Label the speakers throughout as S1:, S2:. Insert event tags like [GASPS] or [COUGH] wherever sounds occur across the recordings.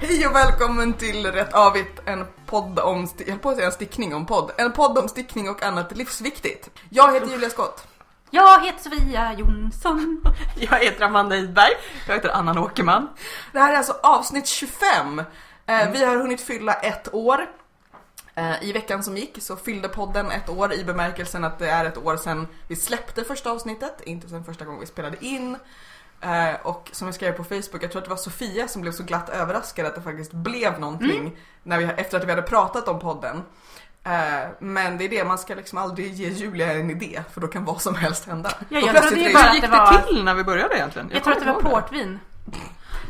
S1: Hej och välkommen till Rätt Avigt, en podd om, sti- jag höll på att säga en stickning om podd, en podd om stickning och annat livsviktigt. Jag heter Julia Skott.
S2: Jag heter Sofia Jonsson.
S3: [LAUGHS] Jag heter Amanda Idberg. Jag heter Anna Åkerman. Mm.
S1: Det här är alltså avsnitt 25. Eh, Vi har hunnit fylla ett år. Eh, I veckan som gick så fyllde podden ett år i bemärkelsen att det är ett år sedan vi släppte första avsnittet, inte sedan första gången vi spelade in. Eh, Och som jag skrev på Facebook, jag tror att det var Sofia som blev så glatt överraskad att det faktiskt blev någonting
S3: Mm.
S1: när vi, efter att vi hade pratat om podden. Eh, Men det är det, man ska liksom aldrig ge Julia en idé för då kan vad som helst hända.
S2: jag
S1: Och
S2: tror
S1: plötsligt
S2: det är
S1: är-
S2: bara-
S3: Hur gick det,
S2: att det var-
S3: till när vi började egentligen?
S2: Jag tror att det
S3: kommer
S2: var
S3: ihåg
S2: portvin.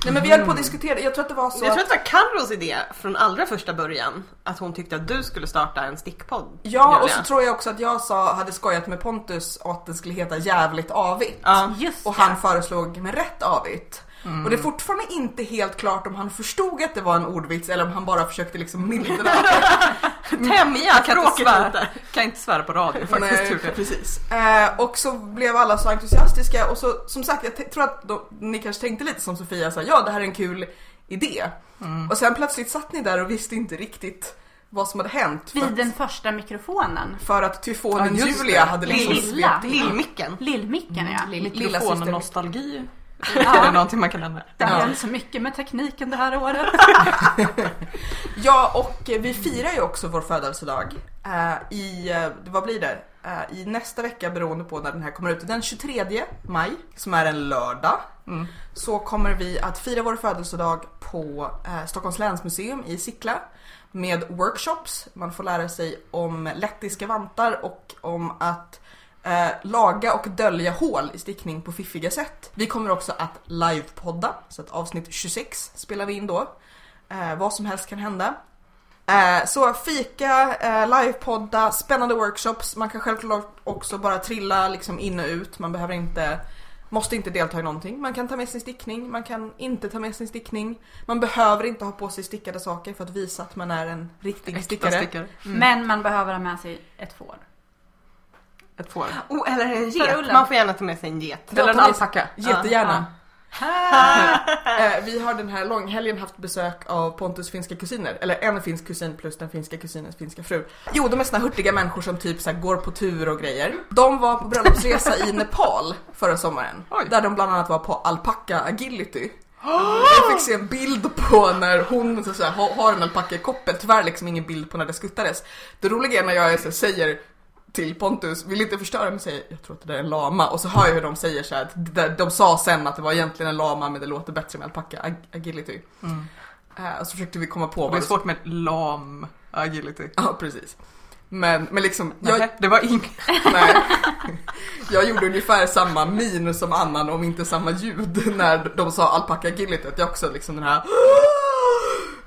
S1: Nej men vi höll på att diskutera, jag tror att det var så
S4: Jag
S1: att-
S4: tror att det var Carros idé från allra första början. Att hon tyckte att du skulle starta en stickpodd.
S1: Ja,
S4: Julia.
S1: och så tror jag också att jag sa, hade skojat med Pontus och att det skulle heta Jävligt avigt.
S4: Ja.
S2: Just
S1: Och
S2: det.
S1: han föreslog med rätt avigt. Och det är fortfarande inte helt klart om han förstod att det var en ordvits eller om han bara försökte liksom mildra.
S3: Tämja, kan inte
S4: tråkigt
S3: svära.
S4: lite.
S3: Kan inte svära på radio faktiskt.
S1: Nej,
S3: Tur det. Precis.
S1: Eh, och så blev alla så entusiastiska och så som sagt jag t- tror att då, ni kanske tänkte lite som Sofia sa, ja det här är en kul idé. Och sen plötsligt satt ni där och visste inte riktigt vad som hade hänt. För,
S2: Vid den första mikrofonen.
S1: för att tyfonen
S3: Ja, just det.
S1: Julia hade liksom
S2: Lilla.
S1: svept in.
S4: Lillmicken.
S2: Lillmicken ja.
S1: Lilla syster.
S3: Mikrofonnostalgi. Är det
S2: ja.
S3: någonting man kan nämna?
S2: Det har
S1: Ja.
S2: hänt så mycket med tekniken det här året.
S1: Ja, och eh, vi firar ju också vår födelsedag eh, i, eh, vad blir det? Eh, I nästa vecka beroende på när den här kommer ut. Den 23 maj, som är en lördag, så kommer vi att fira vår födelsedag på eh, Stockholms läns museum i Sickla med workshops. Man får lära sig om lettiska vantar och om att eh, laga och dölja hål i stickning på fiffiga sätt. Vi kommer också att livepodda, så att avsnitt 26 spelar vi in då. Eh, vad som helst kan hända. Eh, så fika, eh, livepodda, spännande workshops. Man kan självklart också bara trilla liksom in och ut. Man behöver inte, måste inte delta i någonting. Man kan ta med sin stickning, man kan inte ta med sin stickning. Man behöver inte ha på sig stickade saker för att visa att man är en riktig stickare.
S3: Stickare.
S2: Men man behöver ha med sig ett får.
S3: Ett får.
S4: Oh, eller en
S2: För
S4: get.
S2: ullen.
S4: Man får gärna ta med sig en get.
S1: Ja,
S3: Eller en
S1: ta med-
S3: alpacka.
S1: Jättegärna.
S2: Ah.
S1: Eh, vi har den här långhelgen haft besök av Pontus finska kusiner, eller en finsk kusin plus den finska kusinens finska fru. Jo, de är såna hurtiga människor som typ så här går på tur och grejer. De var på bröllopsresa i Nepal förra sommaren,
S3: Oj.
S1: där de bland annat var på alpacca agility. Jag fick se en bild på när hon så så här, ha- har en alpacka i koppel, tyvärr liksom ingen bild på när det skuttades. Det roliga är när jag så här, säger till Pontus, vill inte förstöra men säger jag tror att det där är en lama och så hör jag hur de säger så här, att det där, de sa sen att det var egentligen en lama men det låter bättre med alpacka ag- agility. Eh, och så försökte vi komma på
S3: Mm. Och det är
S1: vad det
S3: svårt med ett lam agility.
S1: Ja precis. Men, men liksom, jag,
S3: Nej, det var inget.
S1: nej. jag gjorde ungefär samma min som annan om inte samma ljud när de sa alpacka agility att jag också liksom den här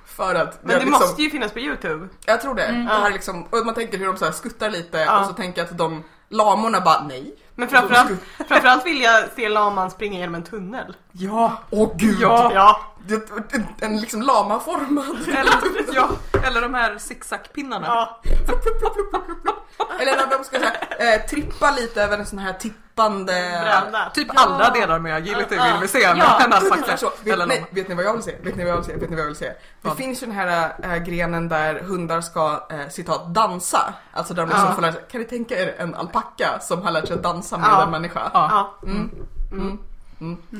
S1: för att
S4: Men
S1: jag
S4: det
S1: liksom,
S4: måste ju finnas på Youtube.
S1: jag tror det. det här liksom, och man tänker hur de så här skuttar lite
S4: Ja.
S1: och så tänker jag att de lamorna bara nej.
S4: Men
S3: Alltså,
S4: framförallt,
S3: [LAUGHS]
S4: framförallt vill jag se laman springa genom en tunnel.
S3: Ja.
S1: Åh gud!
S3: Ja.
S4: Ja.
S1: Det- En, en liksom lamaformad.
S3: Eller, ja. Eller de här zigzagpinnarna.
S4: ja.
S1: Eller när de ska så här, eh, trippa lite över en sån här tippande...
S4: Brända.
S3: Typ
S2: Ja.
S3: alla delar med agility vill vi se med [LAUGHS]
S2: Ja.
S3: en
S1: Ungefär
S3: alpacka.
S1: så.
S3: Alltså, Eller
S1: Alltså, Vet, nej,
S3: lam.
S1: vet ni vad jag vill se? Vet ni vad jag vill se? Vet ni vad jag vill se? Det
S3: Vad?
S1: finns ju den här eh, grenen där hundar ska eh, citat dansa. Alltså där de liksom
S4: Ja.
S1: får lära sig. Kan ni tänka er en alpacka som har lärt sig att dansa med
S4: Ja.
S1: en människa? Mm.
S3: Ja.
S4: ja.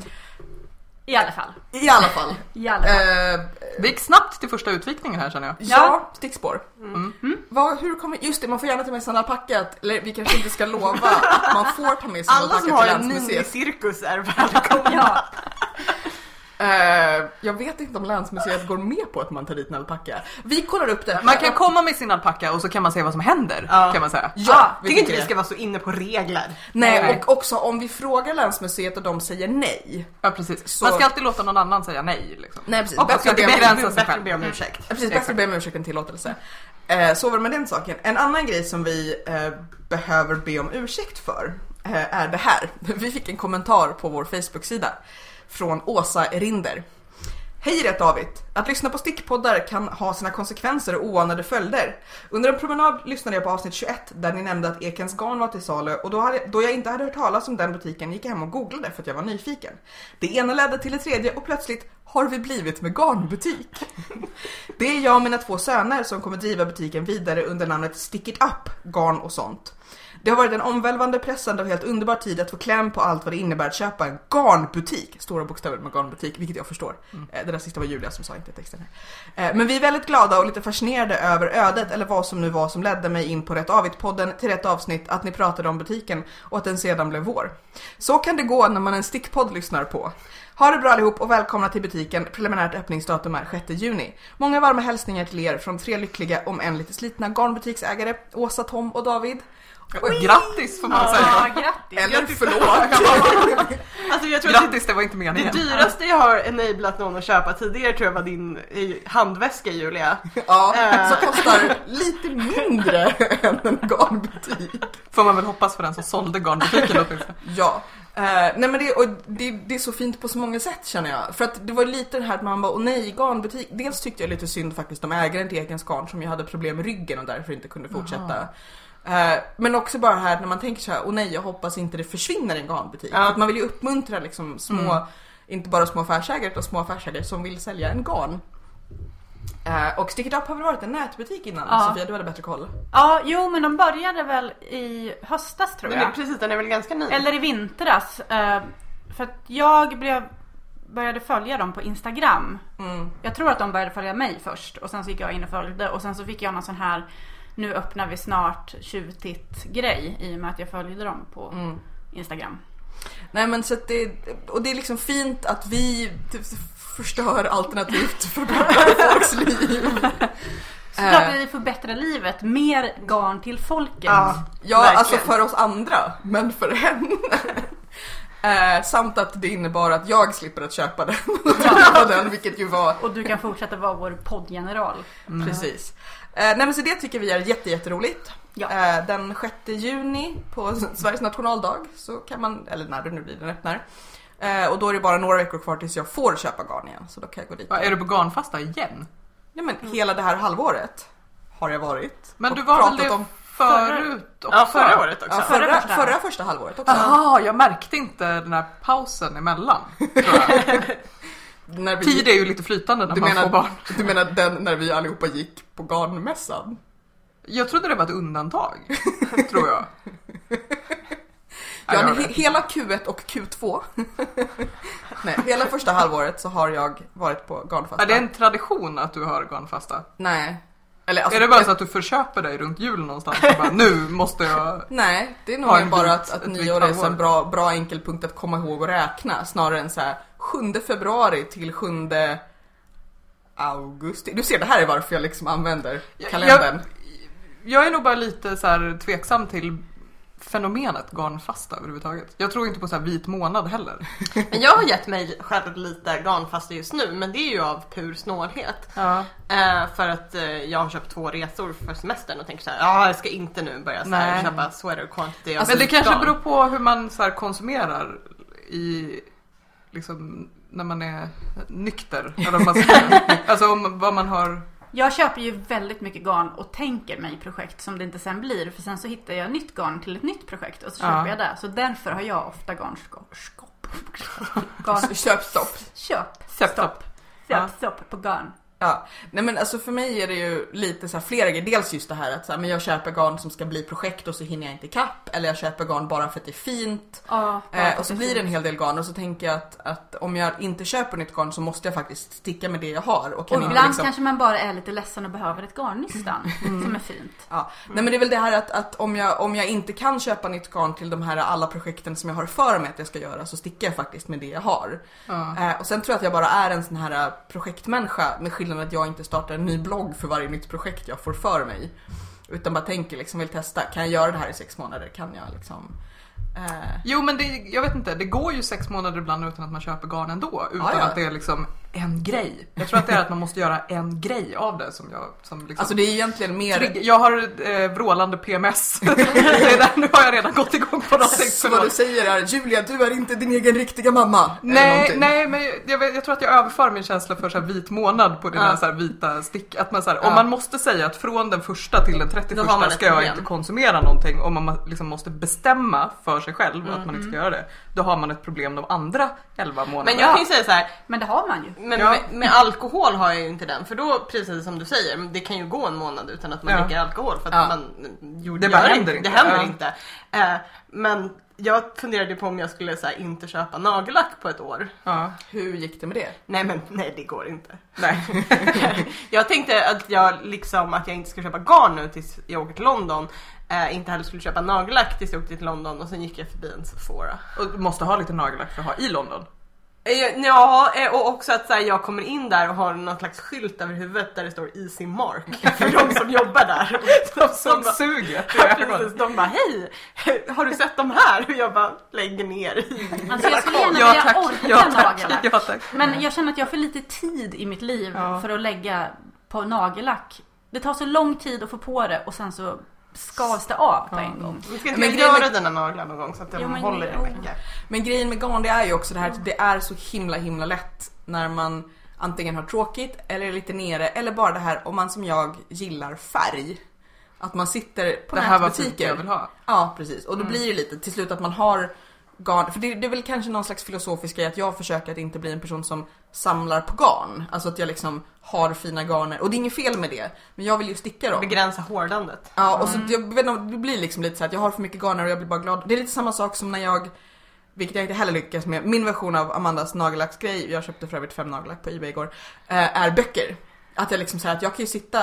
S2: I alla fall.
S1: I alla fall.
S2: I alla fall.
S1: Eh,
S3: Det gick snabbt till första utvikningen här känner jag. Mm.
S1: Ja,
S2: Ja.
S1: stickspår.
S4: Mm.
S1: Vad, hur kommer, just det, man får gärna ta med sig en alpacka. att- Eller vi kanske inte ska lova att man får ta med sig en
S4: Alla som
S1: alpacka
S4: har
S1: till
S4: en
S1: länsmuseet.
S4: minicirkus
S3: [LAUGHS]
S4: är välkomna.
S2: [LAUGHS] Ja.
S1: Eh, jag vet inte om länsmuseet går med på att man tar dit en alpacka. Vi kollar upp det.
S3: Man kan komma med sin alpacka och så kan man se vad som händer.
S4: Ja.
S3: Kan man säga. Ah,
S1: Ja,
S4: Tycker inte vi
S1: det.
S4: ska vara så inne på regler.
S1: Nej,
S3: Nej.
S1: och också om vi frågar länsmuseet och de säger nej.
S3: Ja precis.
S1: Så-
S3: Man ska alltid låta någon annan säga nej. Liksom.
S1: Nej precis,
S3: Och
S1: typ. bättre,
S3: också
S1: att be,
S3: det
S1: om-
S3: begränsa sig
S4: Bättre
S3: själv.
S4: be om ursäkt.
S1: precis, bättre att be om ursäkt än tillåtelse. Eh, så var det med den saken. En annan grej som vi eh, behöver be om ursäkt för eh, är det [LAUGHS] här. Vi fick en kommentar på vår Facebook-sida från Åsa Erinder. Hej Retavit! Att lyssna på stickpoddar kan ha sina konsekvenser och oanade följder. Under en promenad lyssnade jag på avsnitt 21 där ni nämnde att Ekens garn var till salu och då, hade, då jag inte hade hört talas om den butiken gick jag hem och googlade för att jag var nyfiken. Det ena ledde till det tredje och plötsligt har vi blivit med garnbutik. Det är jag och mina två söner som kommer driva butiken vidare under namnet Stick It Up, garn och sånt. Det har varit en omvälvande, pressande och helt underbar tid att få kläm på allt vad det innebär att köpa en garnbutik. Stora bokstäver med garnbutik, vilket jag förstår. Eh, Det där sista var Julia som sa, inte texten här. Eh, Men vi är väldigt glada och lite fascinerade över ödet, eller vad som nu var som ledde mig in på Rätt Avigt-podden till rätt avsnitt, att ni pratade om butiken och att den sedan blev vår. Så kan det gå när man en stickpodd lyssnar på. Ha det bra allihop och välkomna till butiken. Preliminärt öppningsdatum är 6 juni. Många varma hälsningar till er från tre lyckliga, om än lite slitna, garnbutiksägare Åsa, Tom och David.
S3: Grattis får man säga.
S2: Ja, grattis.
S1: Eller förlåt.
S2: [LAUGHS]
S4: Alltså jag tror att det,
S3: Grattis, det var inte
S4: det
S3: meningen.
S4: dyraste jag har enablat någon att köpa tidigare tror jag var din eh, handväska Julia.
S1: ja,
S4: Eh.
S1: som kostar lite mindre [LAUGHS] än en garnbutik.
S3: Får man väl hoppas för den som sålde garnbutiken åtminstone.
S1: Ja. Eh, nej men det, och det, det är så fint på så många sätt känner jag. För att det var lite det här att man bara, åh nej, garnbutik. Dels tyckte jag lite synd faktiskt om ägaren till Ekens garn som ju hade problem med ryggen och därför inte kunde fortsätta. Eh, men också bara här när man tänker så här, åh nej, jag hoppas inte det försvinner en garnbutik.
S4: Ja.
S1: För att man vill ju uppmuntra liksom små, inte bara små affärsägare utan små affärsägare som vill sälja en garn. Eh, och Stick It Up har väl varit en nätbutik innan?
S2: Ja.
S1: Sofia, du hade bättre koll.
S2: Ja, jo men de började väl i höstas tror
S4: Den är,
S2: jag.
S4: precis, den är väl ganska ny?
S2: Eller i vintras. eh, För att jag blev, började följa dem på Instagram.
S1: Mm.
S2: Jag tror att de började följa mig först och sen så gick jag in och följde och sen så fick jag någon sån här nu öppnar vi snart tjuvtitt grej i och med att jag följde dem på
S1: Mm.
S2: Instagram.
S1: Nej men så att det, och det är liksom fint att vi typ förstör alternativt förbättrar folks liv.
S2: Såklart
S1: Eh.
S2: vi förbättrar livet, mer garn till folket.
S4: Ja.
S1: Ja,
S4: Verkligen.
S1: alltså för oss andra, men för henne. Eh, samt att det innebar att jag slipper att köpa den och ta den, vilket ju var
S2: Och du kan fortsätta vara vår poddgeneral.
S1: Mm.
S4: Mm.
S1: precis. Eh, nej men så det tycker vi är jätte, jätteroligt.
S2: Ja.
S1: Eh, den 6 juni på [LAUGHS] Sveriges nationaldag så kan man, eller när det nu blir den öppnar. Eh, och då är det bara några veckor kvar tills jag får köpa garn igen, så då kan jag gå dit.
S3: Ja, är du på garnfasta igen?
S1: Nej men hela det här halvåret har jag varit.
S3: Mm. Men
S1: Och
S3: du var väl
S1: pratat
S3: det
S1: om
S3: förut också?
S4: ja, förra året också.
S1: ja,
S2: förra
S1: förra,
S2: första.
S1: förra första halvåret också.
S3: Jaha, jag märkte inte den här pausen emellan. Tror jag.
S1: När vi,
S3: Tid är ju lite flytande när
S1: du,
S3: man
S1: menar,
S3: får barn.
S1: du menar den när vi allihopa gick på garnmässan?
S3: Jag trodde det var ett undantag, tror jag.
S1: Ja,
S3: jag
S1: men
S3: vet.
S1: he- hela Q1 och Q2. [LAUGHS] Nej, hela första halvåret så har jag varit på garnfasta.
S3: Är det en tradition att du har garnfasta?
S1: Nej. Eller, alltså,
S3: är det bara så att du förköper dig runt jul någonstans och bara nu måste jag...
S1: Nej, det är
S3: Har
S1: nog
S3: en
S1: bara
S3: bit-
S1: att, att
S3: ett
S1: nyår
S3: nytt
S1: är så en
S3: halvår.
S1: bra, bra enkel punkt att komma ihåg och räkna snarare än så här 7 februari till 7 augusti. Du ser, det här är varför jag liksom använder
S3: Jag-
S1: kalendern.
S3: Jag är nog bara lite så här tveksam till fenomenet garnfasta överhuvudtaget. Jag tror inte på så här vit månad heller.
S4: Men jag har gett mig själv lite garnfasta just nu men det är ju av pur snålhet.
S3: Ja.
S4: Eh, för att eh, jag har köpt två resor för semestern och tänker så här, ja jag ska inte nu börja så här,
S3: Nej.
S4: köpa sweater quantity. av
S1: Alltså,
S3: men det kanske
S4: garn."
S3: beror på hur man så här konsumerar i, liksom, när man är nykter. Eller vad man
S1: [LAUGHS]
S3: ska säga. alltså om, vad man har...
S2: Jag köper ju väldigt mycket garn och tänker mig projekt som det inte sen blir. För sen så hittar jag nytt garn till ett nytt projekt och så
S3: Ja.
S2: köper jag det. Så därför har jag ofta garnskop. skop- [LAUGHS] Garn.
S1: Alltså, Köpstopp.
S2: Köp.
S3: Köpstopp. Ja.
S2: Köp. Stopp på garn.
S1: Ja, nej men alltså för mig är det ju lite så här flera grejer. Dels just det här att så här, men jag köper garn som ska bli projekt och så hinner jag inte kapp Eller jag köper garn bara för att det är fint.
S2: Ja,
S1: Eh, och så blir det en hel del garn och så tänker jag att, att om jag inte köper nytt garn så måste jag faktiskt sticka med det jag har. Och kan
S2: Och
S1: inte
S2: ibland
S1: liksom...
S2: kanske man bara är lite ledsen och behöver ett garnnystan
S3: Mm.
S2: som är fint.
S1: Ja. Nej men det är väl det här att, att om, jag, om jag inte kan köpa nytt garn till de här alla projekten som jag har för mig att jag ska göra så stickar jag faktiskt med det jag har.
S3: Ja.
S1: Eh, och sen tror jag att jag bara är en sån här eh, projektmänniska med skillnaden att jag inte startar en ny blogg för varje nytt projekt jag får för mig. Utan bara tänker liksom, vill testa, kan jag göra det här i sex månader? Kan jag liksom? Eh,
S3: Jo men det, jag vet inte, det går ju sex månader ibland utan att man köper garn ändå. Utan
S1: Ja, ja.
S3: att det är liksom en grej. Jag tror att det är att man måste göra en grej av det som jag... Som liksom
S1: alltså det är egentligen mer
S3: [LAUGHS] Trygg- Jag har eh, vrålande PMS. det är där, nu har jag redan gått igång på någonting.
S1: Så vad du säger är Julia, du är inte din egen riktiga mamma. eller
S3: Nej,
S1: någonting.
S3: nej, men jag, vet, jag tror att jag överför min känsla för så här vit månad på den här,
S4: Ja.
S3: så här vita stick. Att man så här,
S1: Ja.
S3: om man måste säga att från den första till den 31
S4: Då har man ett
S3: ska jag
S4: problem.
S3: inte konsumera någonting. Om man liksom måste bestämma för sig själv att man inte ska göra det. Då har man ett problem de andra 11 månaderna.
S4: Men jag kan ju säga så här,
S2: Men det har man ju.
S4: men
S3: Ja.
S4: med, med alkohol har jag ju inte den. För då, precis som du säger, det kan ju gå en månad utan att man
S3: Ja.
S4: dricker alkohol. För att
S1: Ja.
S4: man jo,
S3: Det bara
S4: gör
S3: händer
S4: Det
S3: inte.
S4: händer
S3: Ja.
S4: inte. Eh, men jag funderade ju på om jag skulle så här, inte köpa nagellack på ett år.
S3: Ja,
S1: Hur gick det med det?
S4: Nej men nej det går inte.
S3: nej.
S4: [LAUGHS] jag tänkte att jag liksom att jag inte skulle köpa garn nu tills jag åker till London. Eh, inte heller skulle köpa nagellack tills jag åkte till London och sen gick jag förbi en Sephora.
S3: Och du måste ha lite nagellack för att ha i London.
S4: Eh, Ja, eh, och också att så här, jag kommer in där och har någon slags skylt över huvudet där det står Easy Mark [LAUGHS] för de som jobbar där. De
S3: Som
S4: bara-
S3: suget
S4: [LAUGHS]
S3: i
S4: Ja,
S3: ögonen.
S4: precis, de bara hej, [LAUGHS] har du sett de här? Och jag bara lägger
S2: [LAUGHS]
S4: ner i.
S2: Alltså jag skulle gärna
S3: Ja
S2: vilja
S3: tack,
S2: orka
S3: ja tack,
S2: nagellack.
S3: ja tack.
S2: Men jag känner att jag har för lite tid i mitt liv
S3: Ja.
S2: för att lägga på nagellack. Det tar så lång tid att få på det och sen så skavs det av på en gång.
S4: Du ska inte
S1: Men
S4: men
S1: grejen
S4: göra
S1: är-
S4: dina naglar någon gång så att de
S2: Ja, men-
S4: håller en
S2: jo.
S4: vecka.
S1: Men grejen med garn det är ju också det här att det är så himla himla lätt när man antingen har tråkigt eller är lite nere eller bara det här om man som jag gillar färg. Att man sitter på
S3: Det här var typ det
S1: nätbutiker.
S3: jag vill ha. Mm.
S1: Ja precis och då blir det ju lite till slut att man har garn. För det, det är väl kanske någon slags filosofisk grej att jag försöker att inte bli en person som samlar på garn. Alltså att jag liksom har fina garner och det är inget fel med det. Men jag vill ju sticka dem.
S4: Begränsa hårdandet.
S1: Ja, och så
S4: Mm.
S1: jag vet inte, om- det blir liksom lite så att jag har för mycket garner och jag blir bara glad. Det är lite samma sak som när jag, vilket jag inte heller lyckas med, min version av Amandas nagellacksgrej, jag köpte för övrigt fem nagellack på Ebay igår, eh, är böcker. Att jag liksom säger att jag kan ju sitta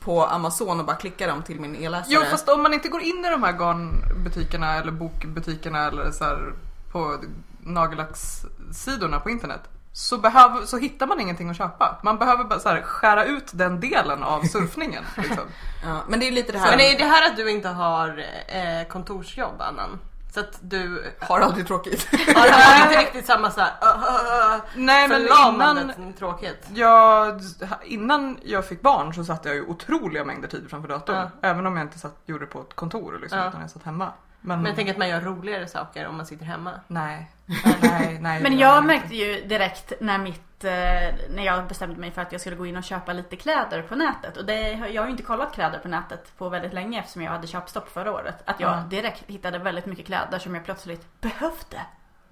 S1: på Amazon och bara klicka dem till min e-läsare.
S3: Jo fast om man inte går in i de här garnbutikerna eller bokbutikerna eller så här på nagellackssidorna på internet så, behöver, så hittar man ingenting att köpa. Man behöver bara så här skära ut den
S4: [LAUGHS]
S3: delen av surfningen. Liksom.
S1: Ja, men det är ju lite det här,
S4: Men är det här att du inte har eh, kontorsjobb Annan? Så att du
S1: har aldrig tråkigt.
S4: Ja, det var inte riktigt samma såhär uh,
S3: Nej men innan,
S4: förlamandet tråkigt.
S3: jag, innan jag fick barn så satt jag ju otroliga mängder tid framför datorn.
S4: Ja.
S3: Även om jag inte satt, gjorde det på ett kontor liksom,
S4: Ja.
S3: utan jag satt hemma. Men,
S4: Men jag tänker att man gör roligare saker om man sitter hemma.
S3: nej, nej, nej.
S2: Men jag märkte ju direkt när mitt eh, när jag bestämde mig för att jag skulle gå in och köpa lite kläder på nätet. Och det, har- jag har ju inte kollat kläder på nätet på väldigt länge eftersom jag hade köpstopp förra året. Att jag
S3: Mm.
S2: direkt hittade väldigt mycket kläder som jag plötsligt behövde.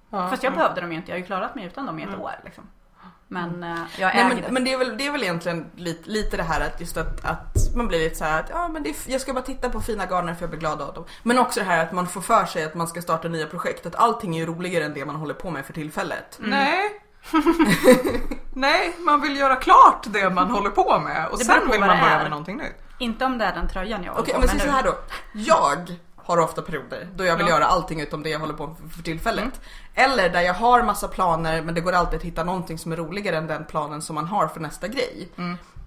S3: Ja.
S2: Fast jag behövde dem ju inte. Jag har ju klarat mig utan dem i ett år. Liksom. Men eh, jag äger
S1: Nej,
S2: det.
S1: men, men det är väl, det är väl egentligen lite, lite det här att just att, att man blir lite så här att ja, men det är, jag ska bara titta på fina garner för jag blir glad av dem. Men också det här att man får för sig att man ska starta nya projekt, att allting är ju roligare än det man håller på med för tillfället.
S2: Mm.
S3: Nej. [LAUGHS] Nej, man vill göra klart det man håller på med och
S2: Det beror
S3: sen
S2: på
S3: vill
S2: vad
S3: man
S2: det
S3: börja
S2: är.
S3: med någonting nytt.
S2: Inte om det är den tröjan jag liksom,
S1: Okej,
S2: håller
S1: om
S2: på
S1: vi säger
S2: med
S1: så
S2: nu.
S1: här då. Jag har ofta perioder då jag vill
S3: Ja.
S1: göra allting utom det jag håller på med för- för tillfället. Eller där jag har massa planer men det går alltid att hitta någonting som är roligare än den planen som man har för nästa grej.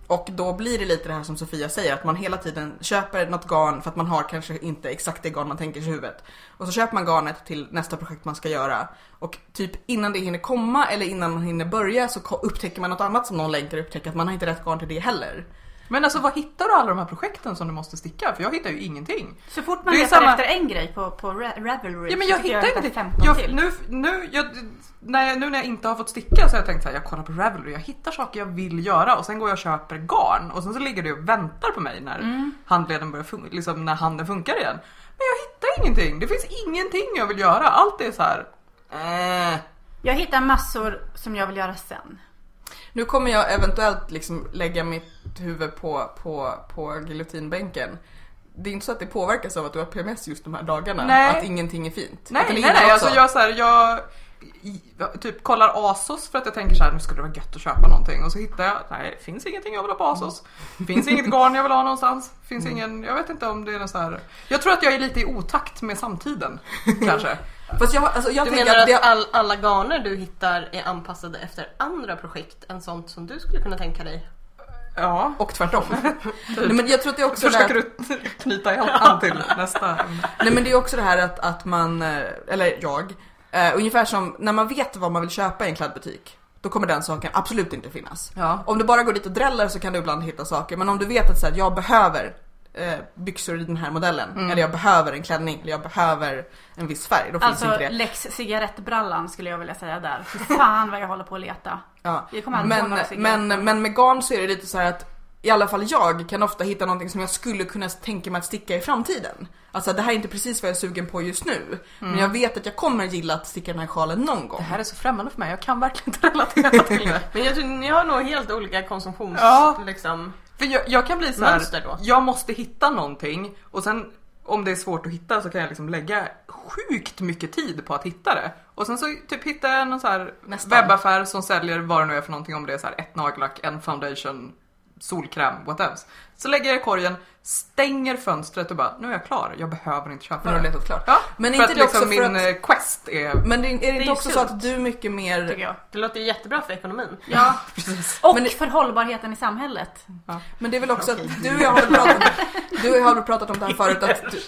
S1: Och då blir det lite det här som Sofia säger att man hela tiden köper något garn för att man har kanske inte exakt det garn man tänker sig i huvudet. Och så köper man garnet till nästa projekt man ska göra. Och typ innan det hinner komma eller innan man hinner börja så ko- upptäcker man något annat som någon längtar och upptäcker att man har inte rätt garn till det heller.
S3: Men alltså vad hittar du alla de här projekten som du måste sticka? För jag hittar ju ingenting.
S2: Så fort man
S3: Det är
S2: letar
S3: samma-
S2: efter en grej på, på Ra- Ravelry
S3: Ja men
S2: så
S3: jag
S2: tycker
S3: hittar
S2: hittar
S3: ingenting.
S2: 15
S3: Jag,
S2: till.
S3: nu, nu, jag, när jag, nu när jag inte har fått sticka så har jag tänkt så här, jag kollar på Ravelry, jag hittar saker jag vill göra och sen går jag och köper garn och sen så ligger det och väntar på mig när
S2: Mm.
S3: handleden börjar funka, liksom när handen funkar igen. Men jag hittar ingenting, det finns ingenting jag vill göra. Allt är så här. eh.
S2: Jag hittar massor som jag vill göra sen.
S1: Nu kommer jag eventuellt liksom lägga mitt huvud på, på, på giljotinbänken. Det är inte så att det påverkas av att du har PMS just de här dagarna.
S3: Nej.
S1: Att ingenting är fint.
S3: Nej,
S1: Utan det
S3: nej,
S1: är
S3: nej.
S1: också.
S3: Alltså jag, så här, jag i- typ kollar Asos för att jag tänker så här, nu skulle det vara gött att köpa någonting. Och så hittar jag, nej, det finns ingenting jag vill ha på Asos. Finns [LAUGHS] inget garn jag vill ha någonstans. Finns ingen, jag vet inte om det är någon så här. Jag tror att jag är lite i otakt med samtiden, [LAUGHS] kanske.
S1: Fast jag, alltså jag
S4: Du
S1: tänker
S4: menar att
S1: det,
S4: all, alla garner du hittar är anpassade efter andra projekt än sånt som du skulle kunna tänka dig?
S3: Ja.
S1: Och tvärtom. nej, men jag tror att det är också det här-
S3: Försöker du knyta ihop an [LAUGHS] till nästa?
S1: Nej men det är också det här att, att man, eh, eller jag, eh, ungefär som när man vet vad man vill köpa i en klädbutik. Då kommer den saken absolut inte finnas.
S3: Ja.
S1: Om du bara går dit och dräller så kan du ibland hitta saker. Men om du vet att så här, jag behöver eh, byxor i den här modellen.
S3: Mm.
S1: Eller jag behöver en klänning. Eller jag behöver en viss färg. Då finns
S2: Alltså
S1: inte det.
S2: lex cigarettbrallan skulle jag vilja säga där. Fy fan vad jag håller på att leta.
S1: Ja.
S2: Jag kommer aldrig
S1: Men,
S2: få några cigaretter.
S1: men, men med garn så är det lite så här att i alla fall jag kan ofta hitta någonting som jag skulle kunna tänka mig att sticka i framtiden. Alltså det här är inte precis vad jag är sugen på just nu. Men
S2: Mm.
S1: jag vet att jag kommer gilla att sticka den här sjalen någon
S3: Det
S1: gång.
S3: här är så främmande för mig, jag kan verkligen inte relatera till det.
S4: Men jag tror ni har nog helt olika konsumtions...
S3: Ja.
S4: Liksom,
S3: För jag, jag kan bli så här,
S4: Mönster då?
S3: jag måste hitta någonting och sen om det är svårt att hitta så kan jag liksom lägga sjukt mycket tid på att hitta det. Och sen så typ hittar jag någon så här
S1: Nästan.
S3: webbaffär som säljer vad det nu är för någonting, om det är så här ett nagellack, en foundation, solkräm, whatever. Så lägger jag i korgen, stänger fönstret och bara nu är jag klar, jag behöver inte
S1: Nu
S3: köpa
S1: har du
S3: det.
S1: letat klart.
S3: Ja,
S1: Men
S3: men
S1: är
S3: för
S1: inte
S3: att
S1: det också
S3: liksom
S1: för
S3: min
S1: att-
S3: eh, quest är [LAUGHS]
S1: Men det, är det inte
S4: ju
S1: också så
S4: sunt.
S1: att du mycket mer
S2: Tycker jag.
S4: det låter ju jättebra för ekonomin.
S2: Ja. Och
S1: Men det-
S2: för hållbarheten i samhället.
S1: [LAUGHS] Men det är väl också att du och jag har väl pratat,
S2: [LAUGHS]
S1: du och jag har väl pratat om det här förut att du,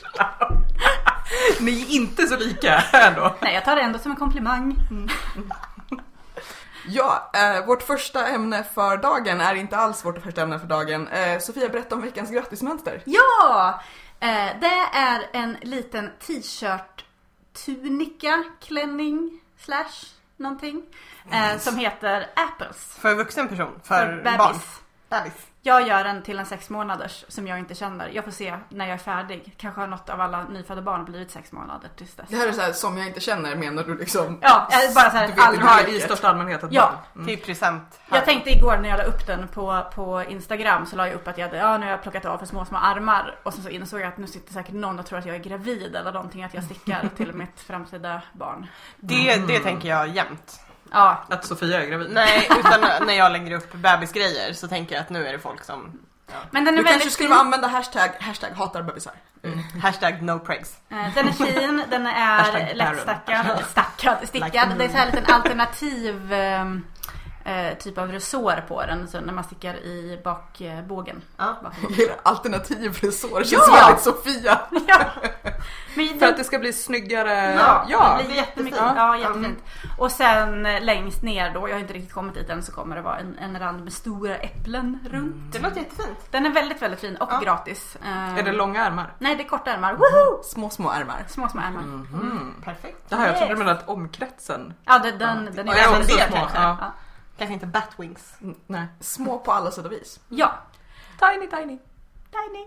S3: Ni är inte så lika ändå.
S2: Nej jag tar det ändå som en komplimang.
S1: ja, eh, vårt första ämne för dagen är inte alls vårt första ämne för dagen. Eh, Sofia, berätta om veckans grattismönster.
S2: Ja! Eh, det är en liten t-shirt tunika, klänning, slash någonting.
S1: Mm.
S2: Eh, som heter Apples.
S4: För vuxen person. För,
S2: För
S4: barn.
S2: bebis.
S4: Bebis.
S2: Jag gör en till en sex månaders som jag inte känner. Jag får se när jag är färdig. Kanske har något av alla nyfödda barn blivit sex månader tills dess.
S1: Det här är så här, som jag inte känner menar du liksom?
S2: Ja, jag är bara så
S1: Du
S2: här
S1: vet inte
S3: Du
S1: vad
S2: allmänt.
S3: har i största allmänhet ett
S2: Ja.
S3: barn.
S4: Typ present.
S2: Jag tänkte igår när jag la upp den på, på Instagram så la jag upp att jag hade, ja nu har jag plockat av för små små armar och sen så insåg jag att nu sitter säkert någon och tror att jag är gravid eller någonting att
S1: [LAUGHS]
S2: jag stickar till mitt framtida barn.
S4: Det, det tänker jag jämt.
S2: Ja,
S3: Att Sofia är gravid.
S4: [LAUGHS] Nej, utan när jag lägger upp bebisgrejer så tänker jag att nu är det folk som
S2: men den är
S1: Du kanske
S2: väldigt
S1: skulle
S2: fin.
S1: använda hashtag, hashtag hatar bebisar.
S4: Mm. hashtag no pregs.
S2: Eh, Den är fin, den är
S3: Hashtag
S2: lättstackad, stackad, stickad.
S4: Like-
S2: Det är så här en liten alternativ ehm, eh, typ av resår på den så när man stickar i
S1: [LAUGHS]
S2: bakbågen.
S4: Ja.
S2: Bakom.
S1: Era Alternativ resår känns
S2: Ja!
S1: väldigt Sofia.
S2: Ja. Men
S3: För
S2: den-
S3: att det ska bli snyggare.
S4: Eh, Ja,
S3: ja.
S2: Mm. det blir jättemycket.
S3: Ja.
S2: Ja, jättefint. Och sen eh, längst ner då, jag har inte riktigt kommit dit än, så kommer det vara en, en rand med stora äpplen runt.
S4: Det låter jättefint.
S2: Den är väldigt, väldigt fin och
S4: Mm. Ja.
S2: gratis. Eh,
S3: Är det långa ärmar?
S2: Nej, det är korta ärmar. Woho!
S1: Små, små ärmar.
S2: Små, små ärmar.
S4: Mm. Perfekt.
S3: Det här, jag trodde
S2: Yes.
S3: du menade att omkretsen.
S2: Ja, den, den, den är
S4: Ja,
S2: väldigt
S4: men det
S2: fin.
S4: kanske.
S2: Ja.
S4: Kanske inte batwings.
S3: Nej.
S1: Små på alla sätt och vis.
S2: ja.
S3: Mm. Tiny tiny.
S2: Tiny.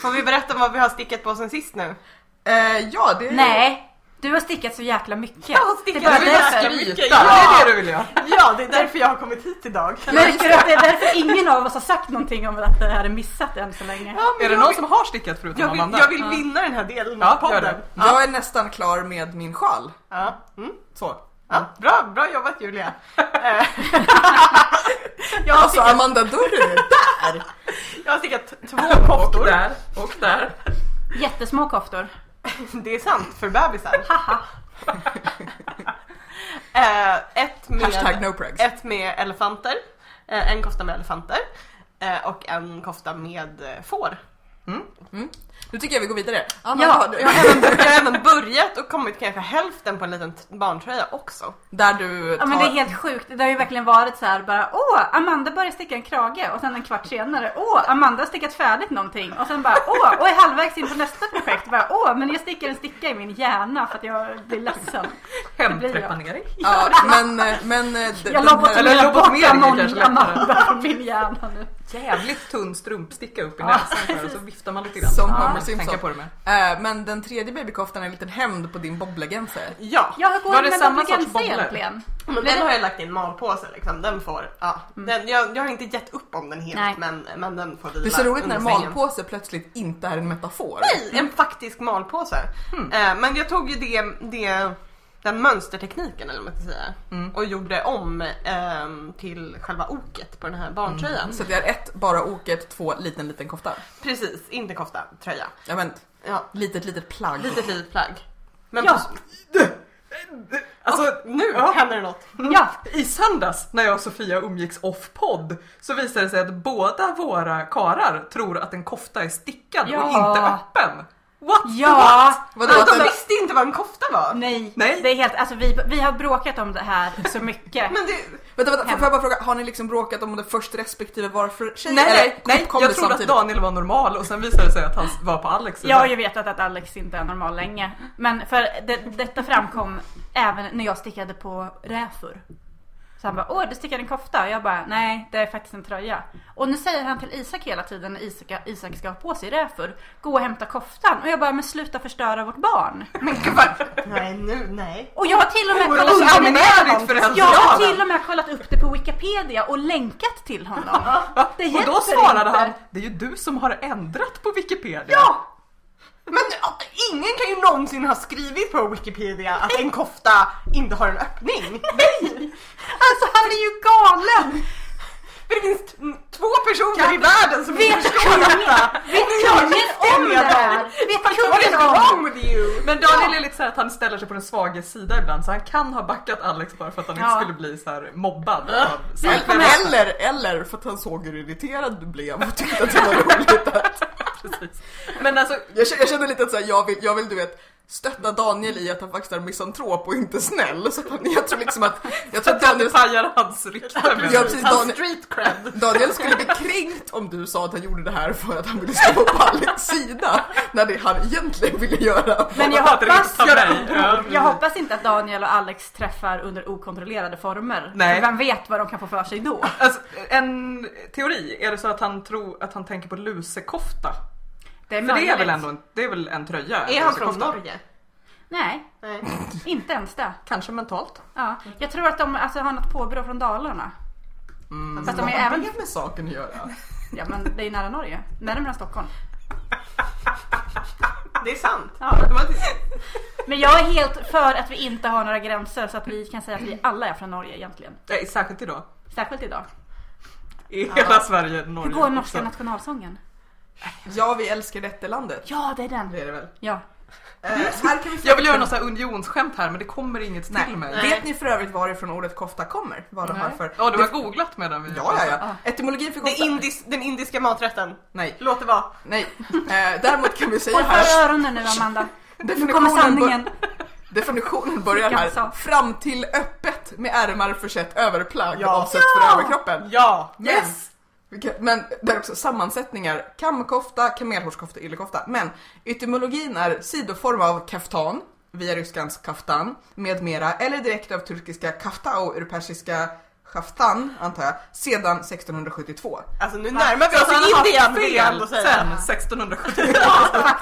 S4: Får vi berätta vad vi har stickat på oss sen sist nu?
S1: Eh, ja, det
S2: Nej, du har stickat så jäkla mycket.
S4: Jag har stickat
S2: det är
S4: så
S2: bara
S4: jäkla
S2: därför.
S4: mycket.
S3: Skryta!
S4: Ja.
S3: Det är det du vill göra.
S4: Ja, det är därför jag har kommit hit idag.
S2: Märker du att det är därför ingen av oss har sagt någonting om att det här är missat än så länge?
S4: Ja, men
S3: Är det
S4: jag
S3: någon
S4: vill-
S3: som har stickat förutom
S4: jag vill,
S3: Amanda?
S4: jag vill vinna den här delen
S3: Ja,
S4: av
S3: gör
S4: podden.
S3: det.
S1: Jag är nästan klar med min sjal.
S4: Ja. Mm.
S1: Så.
S4: Ja, bra, bra jobbat Julia. Eh, [LAUGHS] jag, har
S1: Alltså
S4: stickat,
S1: Amanda, då är
S2: [LAUGHS]
S1: du där!
S4: jag har stickat två
S3: Och
S4: koftor.
S3: där, och där.
S2: Jättesmå koftor.
S4: Det är sant, för bebisar. [LAUGHS] Eh, ett,
S1: Hashtag
S4: med,
S1: no pregs.
S4: ett med elefanter, eh, en kofta med elefanter eh, och en kofta med eh, får.
S1: Nu tycker jag vi går vidare.
S2: Ja.
S1: ja.
S4: Jag har, även, jag har även börjat och kommit kanske hälften på en liten t- barntröja också.
S1: Där du tar...
S2: Ja men det är helt sjukt. Det har ju verkligen varit så här bara åh Amanda börjar sticka en krage och sen en kvart senare åh Amanda har stickat färdigt någonting och sen bara åh och är halvvägs in på nästa projekt bara åh men jag sticker en sticka i min hjärna för att jag blir ledsen. Det blir jag.
S3: Hemtrepanering.
S1: Ja, men... men eh, d-
S2: Jag
S1: den här-
S3: eller
S2: lobotomerar bort
S3: lobotomering
S2: Amon-
S3: kanske lättare.
S2: Amanda från min hjärna nu.
S3: Jävligt tunn strumpsticka upp i
S2: Ja,
S3: näsan så här, så viftar man lite grann.
S1: Som
S3: Ja.
S1: Homer
S3: Tänka
S1: Simpson.
S3: på det med.
S1: Eh, men den tredje babykoftan är en liten hämnd på din bobblegense.
S4: Ja,
S2: Ja hur går
S3: Var
S2: det
S3: det
S2: med
S3: samma
S2: Double
S3: sorts
S2: Ganze
S3: bobblor?
S2: egentligen?
S4: men den har jag lagt i en malpåse liksom. Den får, ja. Den, jag, jag har inte gett upp om den
S2: Nej.
S4: helt men, men den får vila
S1: Det är så roligt
S4: under
S1: när
S4: sängen.
S1: malpåse plötsligt inte är en metafor.
S4: Nej, en faktisk malpåse. Eh, men jag tog ju det, det, den mönstertekniken eller vad man ska säga och gjorde om ehm, till själva oket på den här barntröjan.
S1: Så att jag har ett, bara oket, två, liten, liten kofta.
S4: Precis, inte kofta, tröja.
S1: Ja men,
S4: Ja,
S1: litet, litet plagg.
S4: litet litet plagg. Men
S2: Ja.
S4: på,
S3: Alltså
S4: nu
S3: Ja.
S4: händer det något.
S2: Mm. Ja,
S3: I söndags när jag och Sofia umgicks off-podd så visade det sig att båda våra karar tror att en kofta är stickad
S2: Ja.
S3: och inte öppen. What the
S2: ja.
S3: what?
S1: Vadå, att
S4: de
S1: den,
S4: visste inte vad en kofta var. Ja.
S2: Nej,
S3: Nej.
S2: Det är helt, alltså, vi, vi har bråkat om det här så mycket.
S4: Men det,
S1: Vänta, vänta, får
S2: Hemma.
S1: jag bara fråga, har ni liksom bråkat om det först respektive var för sig?
S3: Nej,
S1: Eller
S3: nej, nej.
S1: kom
S3: jag
S1: det
S3: trodde att
S1: samtidigt?
S3: Daniel var normal och sen visade det sig att han var på Alex
S2: Jag
S3: sida.
S2: har ju vetat att Alex inte är normal länge. Men för det, detta framkom även när jag stickade på räfur. Så han bara, åh du stickade en kofta. Och jag bara, nej det är faktiskt en tröja. Och nu säger han till Isak hela tiden när Isak, Isak ska ha på sig räfur. Gå och hämta koftan. Och jag bara, men sluta förstöra vårt barn.
S3: Men gud,
S4: nej, nu, nej.
S2: Och jag har till och med kollat upp
S3: Underligt
S2: honom.
S3: föräldrarna.
S2: Alltså, Jag har till och med kollat upp det på Wikipedia och länkat till honom. Det
S3: Och då
S2: hjälper
S3: svarade
S2: inte.
S3: han, det är ju du som har ändrat på Wikipedia.
S2: Ja!
S4: Men ja, ingen kan ju någonsin ha skrivit på Wikipedia att en kofta inte har en öppning.
S2: Nej! Alltså han är ju galen!
S4: För det finns t- två personer i världen som inte
S2: Vet
S4: förstår detta.
S2: kungen, vet kungen om det här? Vet
S4: What is
S2: kungen om
S4: wrong with you?
S3: Men Daniel är lite så här att han ställer sig på den svaga sida ibland så han kan ha backat Alex bara för att han
S2: Ja.
S3: inte skulle bli så här mobbad. av
S1: Men-
S3: Sandra.
S1: Eller, eller för att han såg hur irriterad du blev och tyckte att det var roligt. Att,
S3: Precis. Men alltså,
S1: jag, känner, jag känner lite att så här, jag, vill, jag vill du vet stötta Daniel i att han faktiskt är misantrop och inte snäll. Så att han, jag tror liksom att, jag tror att
S3: det
S1: Daniel,
S3: pajar hans rykte. menar
S1: Ja,
S3: du?
S1: precis.
S4: Hans
S1: Daniel-
S4: street cred.
S1: Daniel skulle bli kränkt om du sa att han gjorde det här för att han ville stå på Alex sida. När det han egentligen ville göra.
S2: Men jag
S3: Att det
S2: hoppas,
S3: riktar mig. Ja,
S2: jag hoppas inte att Daniel och Alex träffar under okontrollerade former.
S3: Nej.
S2: För Vem vet vad de kan få för sig då?
S3: Alltså, en teori, är det så att han tror att han tänker på lusekofta?
S2: Det är
S3: För det är
S2: möjligt.
S3: väl ändå en, det är väl en tröja?
S4: Är
S3: en
S4: han från
S3: lusekofta?
S4: Norge?
S2: Nej,
S4: Nej.
S2: inte ens det.
S3: Kanske mentalt.
S2: Ja. Jag tror att de alltså, har något påbrå från Dalarna.
S3: Mm.
S2: Fast de
S1: Vad
S2: är
S1: har
S2: även...
S1: det med saken att göra?
S2: Ja men det är ju nära Norge. Närmare Stockholm.
S4: Det är sant.
S2: Ja.
S4: De har inte-
S2: Men jag är helt för att vi inte har några gränser så att vi kan säga att vi alla är från Norge egentligen.
S3: Nej, särskilt idag.
S2: Särskilt idag.
S3: I hela Sverige, Norge.
S2: Hur går norska
S3: också.
S2: nationalsången?
S1: Ja, vi älskar dätterlandet.
S2: Ja, det är den.
S1: Det är det väl.
S2: Ja.
S1: Eh, här kan vi
S3: Jag vill göra något så här unionsskämt här men det kommer inget till mig.
S4: Nej.
S1: Vet ni för övrigt varifrån ordet kofta kommer? Vad de har för...
S3: Ja, du har googlat medan vi...
S1: Ja, ja, ja. Etymologin för
S4: Det
S1: kofta.
S4: är indis, den indiska maträtten.
S1: Nej,
S4: Låt det vara.
S1: nej. Eh, däremot kan vi säga
S2: Håll
S1: här...
S2: för öronen nu Amanda. Nu kommer
S1: Definitionen bör-
S2: sanningen.
S1: Definitionen börjar här.
S2: Alltså.
S1: Fram till öppet med ärmar försett överplagg
S4: Ja.
S1: avsett
S2: Ja.
S1: för överkroppen.
S4: Ja.
S1: Yes! Vilka- Men där också sammansättningar. Kamkofta, kamelhårskofta, yllekofta. Men etymologin är sidoform av kaftan, via ryskans kaftan, med mera, eller direkt av turkiska kaftao ur persiska kaftan, antar jag, sedan 1672.
S4: Alltså nu närmar vi oss
S3: Alltså, han har
S4: Indien
S3: haft
S4: vill jag ändå
S3: fel
S4: säga.
S3: sen 1670.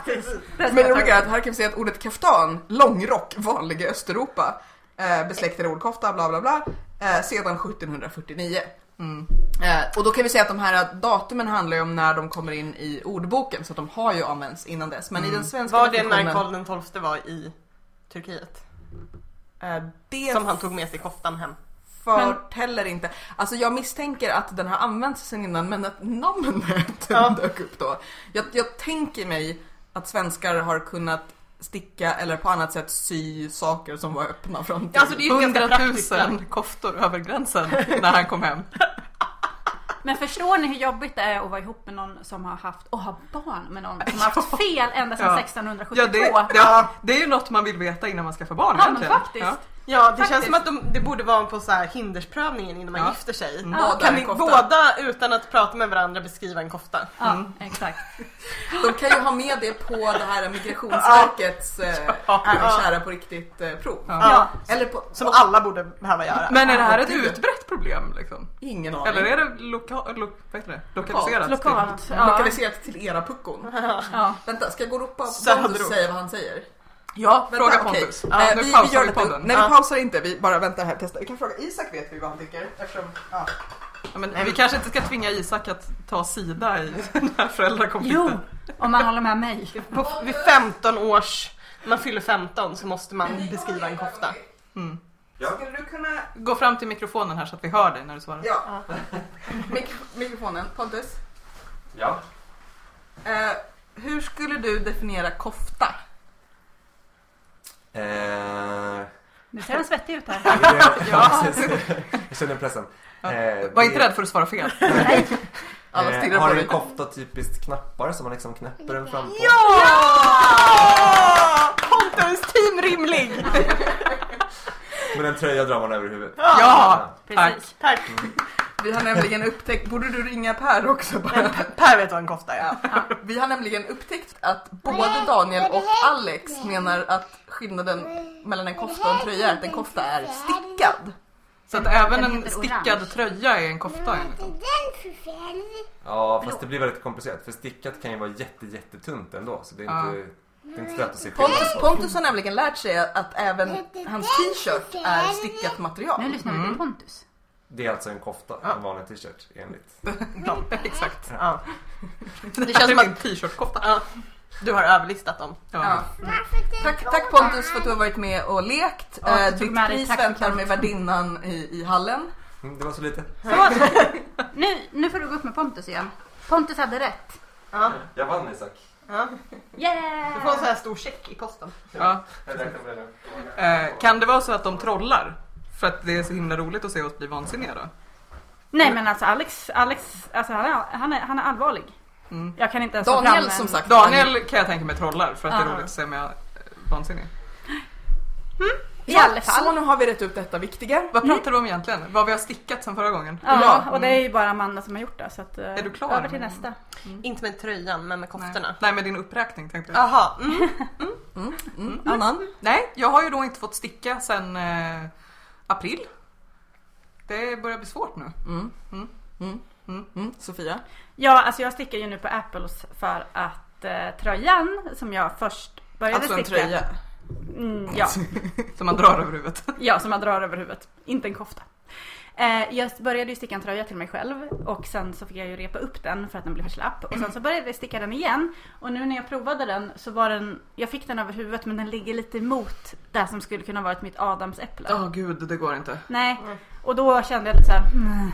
S2: Det
S1: Men det roliga är att här kan vi se att ordet kaftan, långrock, vanlig i Östeuropa, eh, besläktade ord kofta, bla bla bla, eh, sedan 1749. Eh, och då kan vi säga att de här datumen handlar ju om när de kommer in i ordboken, så att de har ju använts innan dess. Men i den svenska
S4: Var det när
S1: definitionen-
S4: Karl den XII var i Turkiet?
S1: Eh, det
S4: Som han tog med sig koftan hem.
S1: förtäller inte. Alltså jag misstänker att den har använts sedan innan, men att namnet [LAUGHS]
S4: Ja.
S1: dök upp då. Jag, jag tänker mig att svenskar har kunnat sticka eller på annat sätt sy saker som var öppna fram till.
S4: Alltså, det är ju ganska praktiskt.
S3: 100 000 koftor över gränsen
S1: [LAUGHS]
S3: när han kom hem.
S2: Men förstår ni hur jobbigt det är att vara ihop med någon som har haft och har barn med någon som har haft fel ända sedan
S3: [LAUGHS] Ja.
S2: 1672?
S3: Ja, det, det, det är ju något man vill veta innan man skaffar barn
S2: Ja, men
S3: egentligen.
S2: faktiskt.
S3: Ja.
S4: Ja, det känns
S2: Faktiskt.
S4: som att de, det borde vara på så här hindersprövningen innan man
S3: Ja.
S4: gifter sig.
S1: Ja.
S4: Kan ni
S1: Kofta.
S4: båda utan att prata med varandra beskriva en kofta?
S2: Ja,
S3: Mm.
S2: exakt.
S1: De kan ju ha med det på det här Migrationsverkets eh, är och kära på riktigt eh, prov.
S3: Ja.
S2: Ja.
S1: Eller på...
S4: Som alla borde behöva göra.
S3: Men är det här ett utbrett problem liksom?
S1: Ingen aning.
S3: Eller är det, loka, lo, vad heter det? lokaliserat? till-
S2: Lokalt. Ja.
S1: Lokaliserat till era puckon.
S3: liksom-
S2: Ja.
S1: Vänta, ska jag gå och ropa på
S4: Söderort.
S1: Pontus och säga vad han säger?
S3: Ja, fråga
S1: okej.
S3: Pontus.
S1: Eh,
S3: Ja, nu
S1: vi, vi
S3: pausar
S1: gör
S3: vi
S1: lite,
S3: podden.
S1: Nej, vi
S4: Ja.
S1: pausar inte. Vi bara väntar här och testar. Vi kan fråga Isak vet vi vad han tycker. Eftersom, ja.
S3: Ja, men vi kanske inte ska tvinga Isak att ta sida i [LAUGHS] den här
S2: Jo,
S3: föräldrakonflikten.
S2: om man håller med mig.
S4: På, vid 15 års, när man fyller 15 så måste man beskriva en kofta.
S1: Mm.
S5: Ja.
S1: Skulle du kunna...
S3: Gå fram till mikrofonen här så att vi hör dig när du svarar.
S1: Ja. Mik- mikrofonen. Pontus.
S5: Ja.
S1: Eh, hur skulle du definiera kofta?
S5: Eh,
S2: Nu ser han svettig ut här.
S5: ja. Jag känner pressen. Eh,
S3: Var inte
S5: det-
S3: rädd för att svara fel.
S1: Alla
S5: eh,
S1: stirrar på
S5: Har
S1: dig.
S5: en kofta typiskt knappar som man liksom knäpper den fram på?
S4: Ja! Pontus team rimlig.
S5: Men en tröja drar man över huvudet.
S3: Ja!
S2: Precis.
S4: Tack.
S1: Vi har nämligen upptäckt, borde du ringa Per också bara?
S4: Per vet vad en kofta är.
S1: Vi har nämligen upptäckt att både Daniel och Alex menar att skillnaden mellan en kofta och en tröja är att en kofta är stickad.
S3: Så att även
S2: Den
S3: en
S2: heter
S3: stickad
S2: orange.
S3: tröja är en kofta
S4: Mm.
S3: enligt dem.
S6: den förfärlig?
S5: Ja, fast det blir väldigt komplicerat. För stickat kan ju vara jätte, jättetunt ändå. Så det är inte, det är inte så lätt att se
S1: Pontus,
S5: skillnad på.
S1: Pontus har nämligen lärt sig att även hans t-shirt är stickat material.
S2: Nu lyssnar
S3: Mm.
S2: vi till Pontus.
S5: Det är alltså en kofta, en vanlig t-shirt enligt.
S4: Ja, exakt. Ja.
S3: Det [LAUGHS]
S4: känns som att-
S3: en t-shirtkofta.
S4: Ja. Du har överlistat dem.
S1: Ja.
S3: Ja.
S1: Tack, tack Pontus för att du har varit med och lekt.
S2: Ja,
S1: Eh,
S2: du tog
S1: Ditt
S2: med dig
S1: pris
S2: taxen.
S1: väntar med värdinnan i, i hallen.
S5: Mm, det var så lite.
S2: Så, nu, nu får du gå upp med Pontus igen. Pontus hade rätt.
S4: Ja.
S5: Jag vann Isak.
S4: Ja. Du får en
S2: Yeah!
S4: sån här stor check i posten.
S3: Ja.
S5: Jag räknar med det nu.
S3: Eh, kan det vara så att de trollar? För att det är så himla roligt att se oss bli vansinniga då?
S2: Nej men alltså Alex, Alex alltså, han, är, han, är, han är allvarlig.
S3: Mm.
S2: Jag kan inte ens få fram
S1: Daniel
S2: en-
S1: som sagt.
S3: Daniel kan jag tänka mig trollar för att det är
S4: Ah.
S2: Ja.
S3: roligt att se om jag är vansinnig.
S4: Mm.
S2: I alla
S1: Så
S2: fall.
S1: nu har vi rätt ut detta viktiga.
S3: Vad pratar vi om egentligen? Vad vi har stickat sen förra gången?
S2: Ja, och det är ju bara Amanda som har gjort det. Så att, eh,
S3: Är
S1: Ehm,
S3: du klar?
S2: Över till nästa.
S4: Inte med tröjan men med koftorna.
S3: Nej, med din uppräkning tänkte jag.
S4: Jaha. Mm.
S1: Mm, annan.
S3: Nej, jag har ju då inte fått sticka sen eh, april. Det börjar bli svårt nu.
S1: Mm.
S3: Mm.
S1: Mm.
S3: Mm.
S1: Mm. Sofia.
S2: Ja, alltså jag stickar ju nu på Apples för att eh, tröjan som jag först började
S1: Alltså en
S2: sticka.
S1: tröja.
S2: Mm,
S1: [LAUGHS]
S2: ja,
S3: Som man drar över huvudet.
S2: ja, som jag drar över huvudet. Inte en kofta. Eh, jag började ju sticka en tröja till mig själv och sen så fick jag ju repa upp den för att den blev för slapp. Och sen så började jag sticka den igen och nu när jag provade den så var den, jag fick den över huvudet men den ligger lite emot det som skulle kunna varit mitt adamsäpple.
S3: Ja, gud, det går inte.
S2: Nej,
S1: Mm.
S2: och då kände jag lite så här. "Mm."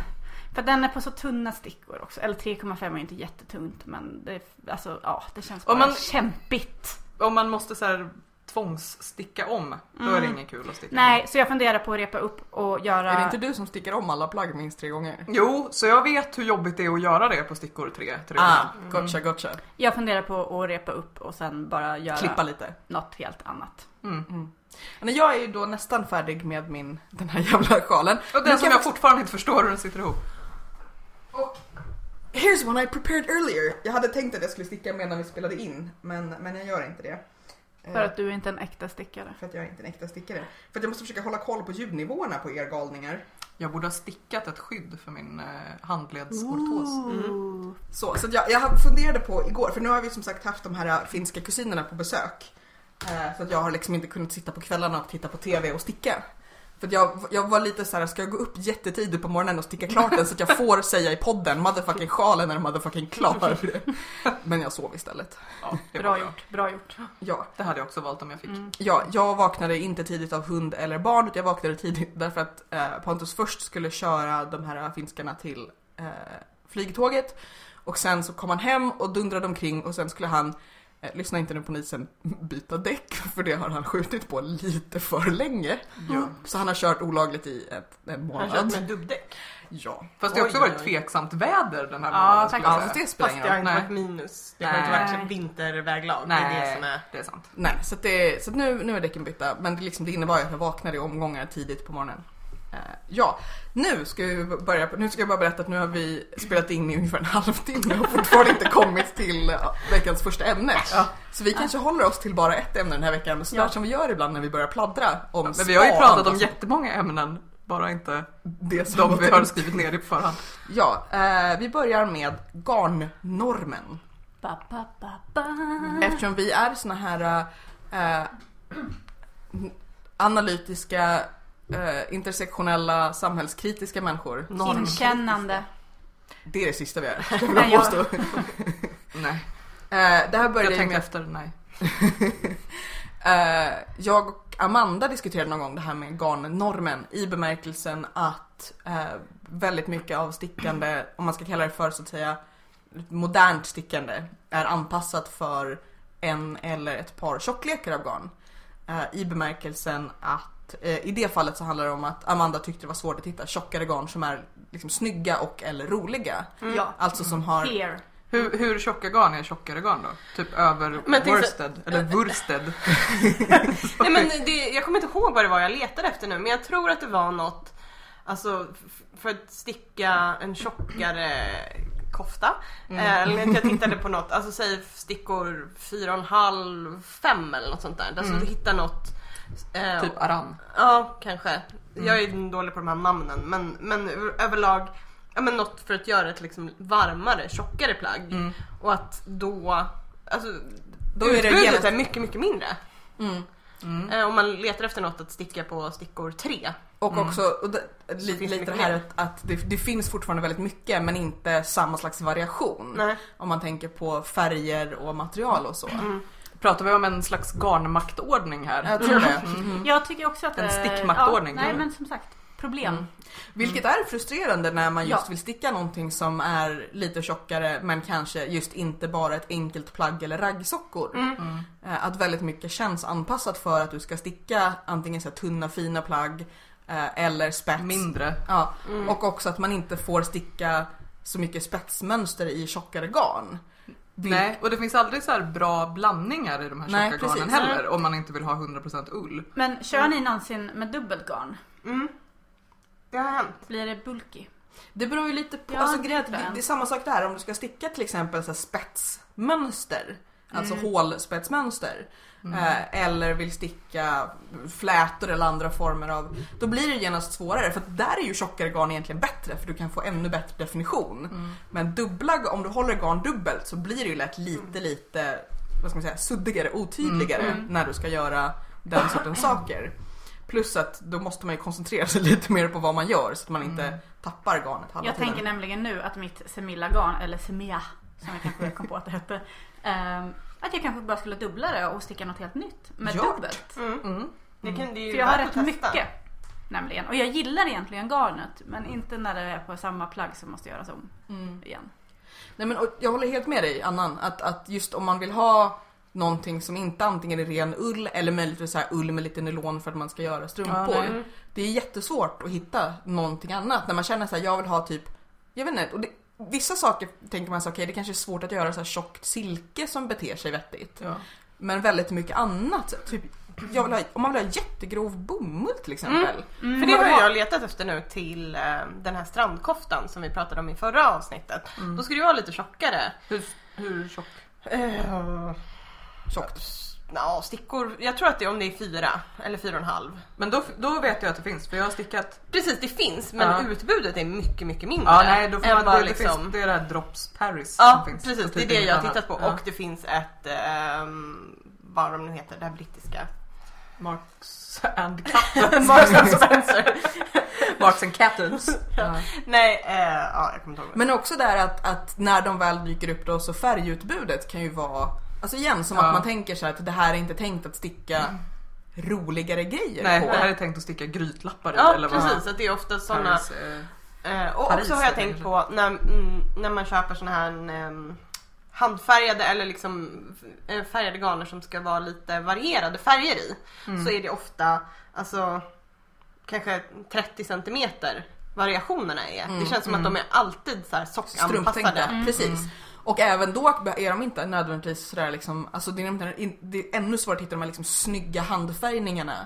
S2: För den är på så tunna stickor också. Eller 3,5 är ju inte jättetunt men det, alltså, ja, det känns bara
S3: Om man-
S2: kämpigt.
S3: Om man måste så här tvångssticka om, då är
S1: Mm.
S3: det inget kul att sticka.
S2: Nej, så jag funderar på att repa upp och göra...
S1: Är det inte du som sticker om alla plagg minst tre gånger?
S3: Jo, så jag vet hur jobbigt det är att göra det på stickor 3.
S1: Ah, gotcha, gotcha.
S2: Jag funderar på att repa upp och sen bara göra
S1: Klippa lite.
S2: något helt annat.
S1: Men jag är ju då nästan färdig med min, den här jävla sjalen.
S3: Och
S1: Nu
S3: den
S1: kan
S3: som
S1: vi-
S3: jag fortfarande inte förstår hur den sitter ihop.
S1: Here's one I prepared earlier. Jag hade tänkt att jag skulle sticka medan vi spelade in, men, men jag gör inte det. Eh,
S2: För att du är inte en äkta stickare.
S1: för att jag är inte en äkta stickare. För att jag måste försöka hålla koll på ljudnivåerna på er galningar.
S3: Jag borde ha stickat ett skydd för min eh, handledsortos.
S1: Ah. Så, så att jag, jag funderade på igår, för nu har vi som sagt haft de här ä, finska kusinerna på besök. Eh, Så att jag har liksom inte kunnat sitta på kvällarna och titta på TV och sticka. För att jag, jag var lite så här: ska jag gå upp jättetidigt på morgonen och sticka klart den så att jag får säga i podden motherfucking sjalen är motherfucking klar. Men jag sov istället.
S3: Ja, det, var
S2: Bra
S3: bra.
S2: gjort, bra gjort. Mm.
S1: Ja,
S3: det hade jag också valt om jag fick.
S1: ja, jag vaknade inte tidigt av hund eller barn utan jag vaknade tidigt [LAUGHS] därför att eh, Pontus först skulle köra de här finskarna till eh, flygtåget och sen så kom han hem och dundrade omkring och sen skulle han eh, Lyssna inte nu på polisen [LAUGHS] byta däck för det har han skjutit på lite för länge. Så han har kört olagligt i ett, en
S4: Han kör
S1: månad.
S4: med dubbdäck.
S1: Ja.
S3: Fast det har också
S4: Oj,
S3: varit
S4: oj.
S3: [LAUGHS] tveksamt väder den här
S2: Ja,
S3: månaden. skulle jag
S1: Ja,
S2: faktiskt.
S3: säga.
S1: fast det spelar
S4: Fast
S1: ingen
S4: det har
S1: roll.
S4: inte
S3: Nej.
S4: varit minus. Det har inte
S3: Nej.
S4: varit som vinterväglag. Det är det
S3: Nej,
S4: som är...
S3: det är sant.
S1: Nej, så, att det, så att nu, nu är däcken bytta. Men det, liksom, det innebar ju att jag vaknade i omgångar tidigt på morgonen. Eh, ja, nu ska, vi börja, nu ska jag bara berätta att nu har vi spelat in i ungefär en halvtimme och fortfarande inte kommit till eh, veckans första ämne. Så vi kanske håller oss till bara ett ämne den här veckan, sådär
S2: Ja.
S1: som vi gör ibland när vi börjar pladdra om
S3: Men vi har ju
S1: spa,
S3: pratat om
S1: alltså,
S3: jättemånga ämnen, bara inte
S1: det som
S3: de vi har skrivit ner i på förhand.
S1: Ja, eh, vi börjar med garnnormen.
S2: Ba, ba, ba, ba.
S1: Eftersom vi är såna här eh, n- analytiska, eh, intersektionella, samhällskritiska människor.
S2: Inkännande.
S1: Det är det sista vi är, skulle
S2: Nej,
S1: jag [LAUGHS]
S2: jag-
S1: påstå. Eh,
S3: Nej,
S1: det här började
S3: jag
S1: ju
S3: tänkte
S1: med...
S3: efter. Nej.
S1: [LAUGHS] Eh, jag och Amanda diskuterade någon gång det här med garnnormen i bemärkelsen att eh, väldigt mycket av stickande, om man ska kalla det för så att säga modernt stickande, är anpassat för en eller ett par tjocklekar av garn. Eh, I bemärkelsen att eh, i det fallet så handlar det om att Amanda tyckte det var svårt att hitta tjockare garn som är liksom snygga och eller roliga.
S2: Ja.
S1: Alltså som har
S2: Here.
S3: Hur, hur tjocka garn är tjockare garn då? Typ över
S4: Men tänk så-
S3: worsted? Eller worsted?
S4: Nej, men det, jag kommer inte ihåg vad det var jag letade efter nu men jag tror att det var något Alltså f- för att sticka en tjockare kofta. Eh, Eller att jag tittade på något, alltså säg stickor 4,5, 5 eller något sånt där. Alltså du hittar något. eh,
S3: typ aran?
S4: Ja, kanske. Jag är dålig på de här namnen men, men överlag ja, men något för att göra ett liksom varmare, tjockare plagg.
S3: Mm.
S4: Och att då, alltså
S1: Då är det
S4: utbudet
S1: genast-
S4: är mycket, mycket mindre.
S1: Mm.
S4: Eh, Om man letar efter något att sticka på stickor 3.
S1: Och också och det,
S4: Mm. finns
S1: li, lite
S4: mycket
S1: det här
S4: mer.
S1: att, att det, det finns fortfarande väldigt mycket men inte samma slags variation.
S4: Nej. Mm.
S1: Om man tänker på färger och material och så.
S3: Pratar vi om en slags garnmaktordning här?
S1: Jag tror det.
S4: Mm.
S1: Mm.
S2: Jag tycker också att...
S3: En
S2: eh,
S3: stickmaktordning.
S2: Ja, nej men som sagt, problem.
S1: Mm. Vilket är frustrerande när man just
S2: Ja.
S1: vill sticka någonting som är lite tjockare men kanske just inte bara ett enkelt plagg eller raggsockor.
S4: Mm.
S1: Eh, Att väldigt mycket känns anpassat för att du ska sticka antingen så här tunna fina plagg eh, eller spets.
S3: Mindre?
S1: Ja. Och också att man inte får sticka så mycket spetsmönster i tjockare garn.
S4: Typ.
S1: Vil-
S3: Nej, och det finns aldrig så här bra blandningar i de här tjocka
S1: Nej,
S3: garnen
S1: precis.
S3: heller om man inte vill ha 100% ull.
S2: Men kör ni någonsin med dubbelt garn?
S4: Mm. Det har hänt.
S2: Blir det bulky?
S1: Det beror ju lite på.
S2: Ja,
S1: alltså,
S2: det
S1: grejen, är att
S2: tror jag.
S1: det, det är samma sak där om du ska sticka till exempel så här spetsmönster. Alltså hålspetsmönster. Eh, eller vill sticka flätor eller andra former av. Då blir det genast svårare för att där är ju tjockare garn egentligen bättre för du kan få ännu bättre definition. Men dubbla, om du håller garn dubbelt så blir det ju lätt lite lite vad ska man säga, suddigare, otydligare när du ska göra den sortens saker. Plus att då måste man ju koncentrera sig [LAUGHS] lite mer på vad man gör så att man inte tappar garnet halva
S2: Jag
S1: tiden.
S2: tänker nämligen nu att mitt Semilla-garn, eller Semia som jag kanske kom på att det hette. ehm, att jag kanske bara skulle dubbla det och sticka något helt nytt med
S1: Ja.
S2: dubbelt.
S4: Mm. Det kan, det är ju
S2: För jag har
S4: värt
S2: rätt
S4: att testa.
S2: mycket. Nämligen. Och jag gillar egentligen garnet men inte när det är på samma plagg som måste göras om igen.
S1: Mm. Nej, men, och jag håller helt med dig Annan, att, att just om man vill ha någonting som inte antingen är ren ull eller möjligtvis så här ull med lite nylon för att man ska göra strumpor.
S4: Mm.
S3: Ja, nej.
S1: det är jättesvårt att hitta någonting annat när man känner så här, jag vill ha typ, jag vet inte, och det, vissa saker tänker man så här, okej det kanske är svårt att göra så här tjockt silke som beter sig vettigt.
S3: Ja.
S1: Men väldigt mycket annat, typ jag vill ha, om man vill ha jättegrov bomull till exempel.
S3: Mm.
S4: För det har jag letat efter nu till eh, den här strandkoftan som vi pratade om i förra avsnittet. Då skulle det vara lite tjockare.
S3: Hur, hur tjock?
S4: Uh,
S1: Tjockt.
S4: ja, stickor. Jag tror att det är om det är fyra eller fyra och en halv.
S3: Men då, då vet jag att det finns för jag har stickat.
S4: Precis, det finns men
S3: Ja.
S4: utbudet är mycket, mycket mindre.
S3: Ja, nej, då får
S4: än
S3: man, liksom-
S4: vad liksom-
S3: det, det, finns, det är det här Drops Paris
S4: Ja,
S3: som finns.
S4: precis.
S3: Och
S4: Det är
S3: typ
S4: det
S3: inget
S4: jag har
S3: annat.
S4: tittat på.
S3: Ja.
S4: Och det finns ett, ehm, vad de nu heter, det här brittiska.
S3: Marks [LAUGHS] and Captains.
S4: Marks and [LAUGHS] Spencer.
S3: Marks and Captains.
S4: Nej, eh, ja, jag kommer inte ihåg. vad det
S1: Men också där att, att när de väl dyker upp då så färgutbudet kan ju vara Alltså igen som
S3: Ja. Mm.
S1: att man tänker så här att det här är inte tänkt att sticka roligare grejer
S3: Nej,
S1: på.
S3: det här är tänkt att sticka grytlappar i.
S4: Ja
S3: eller vad-
S4: precis, att det är ofta sådana.
S3: Paris, eh,
S4: Eh, och
S3: Paris
S4: också har jag
S3: heter
S4: tänkt
S3: det.
S4: på när, mm, när man köper sådana här ehm, handfärgade eller liksom eh, färgade garner som ska vara lite varierade färger i. Så är det ofta alltså kanske 30 centimeter variationerna är. det känns som att de är alltid så här
S1: Strumptänkta,
S4: sockanpassade.
S1: precis. Och även då är de inte nödvändigtvis sådär liksom, alltså det är, inte- det är ännu svårare att hitta de här liksom snygga handfärgningarna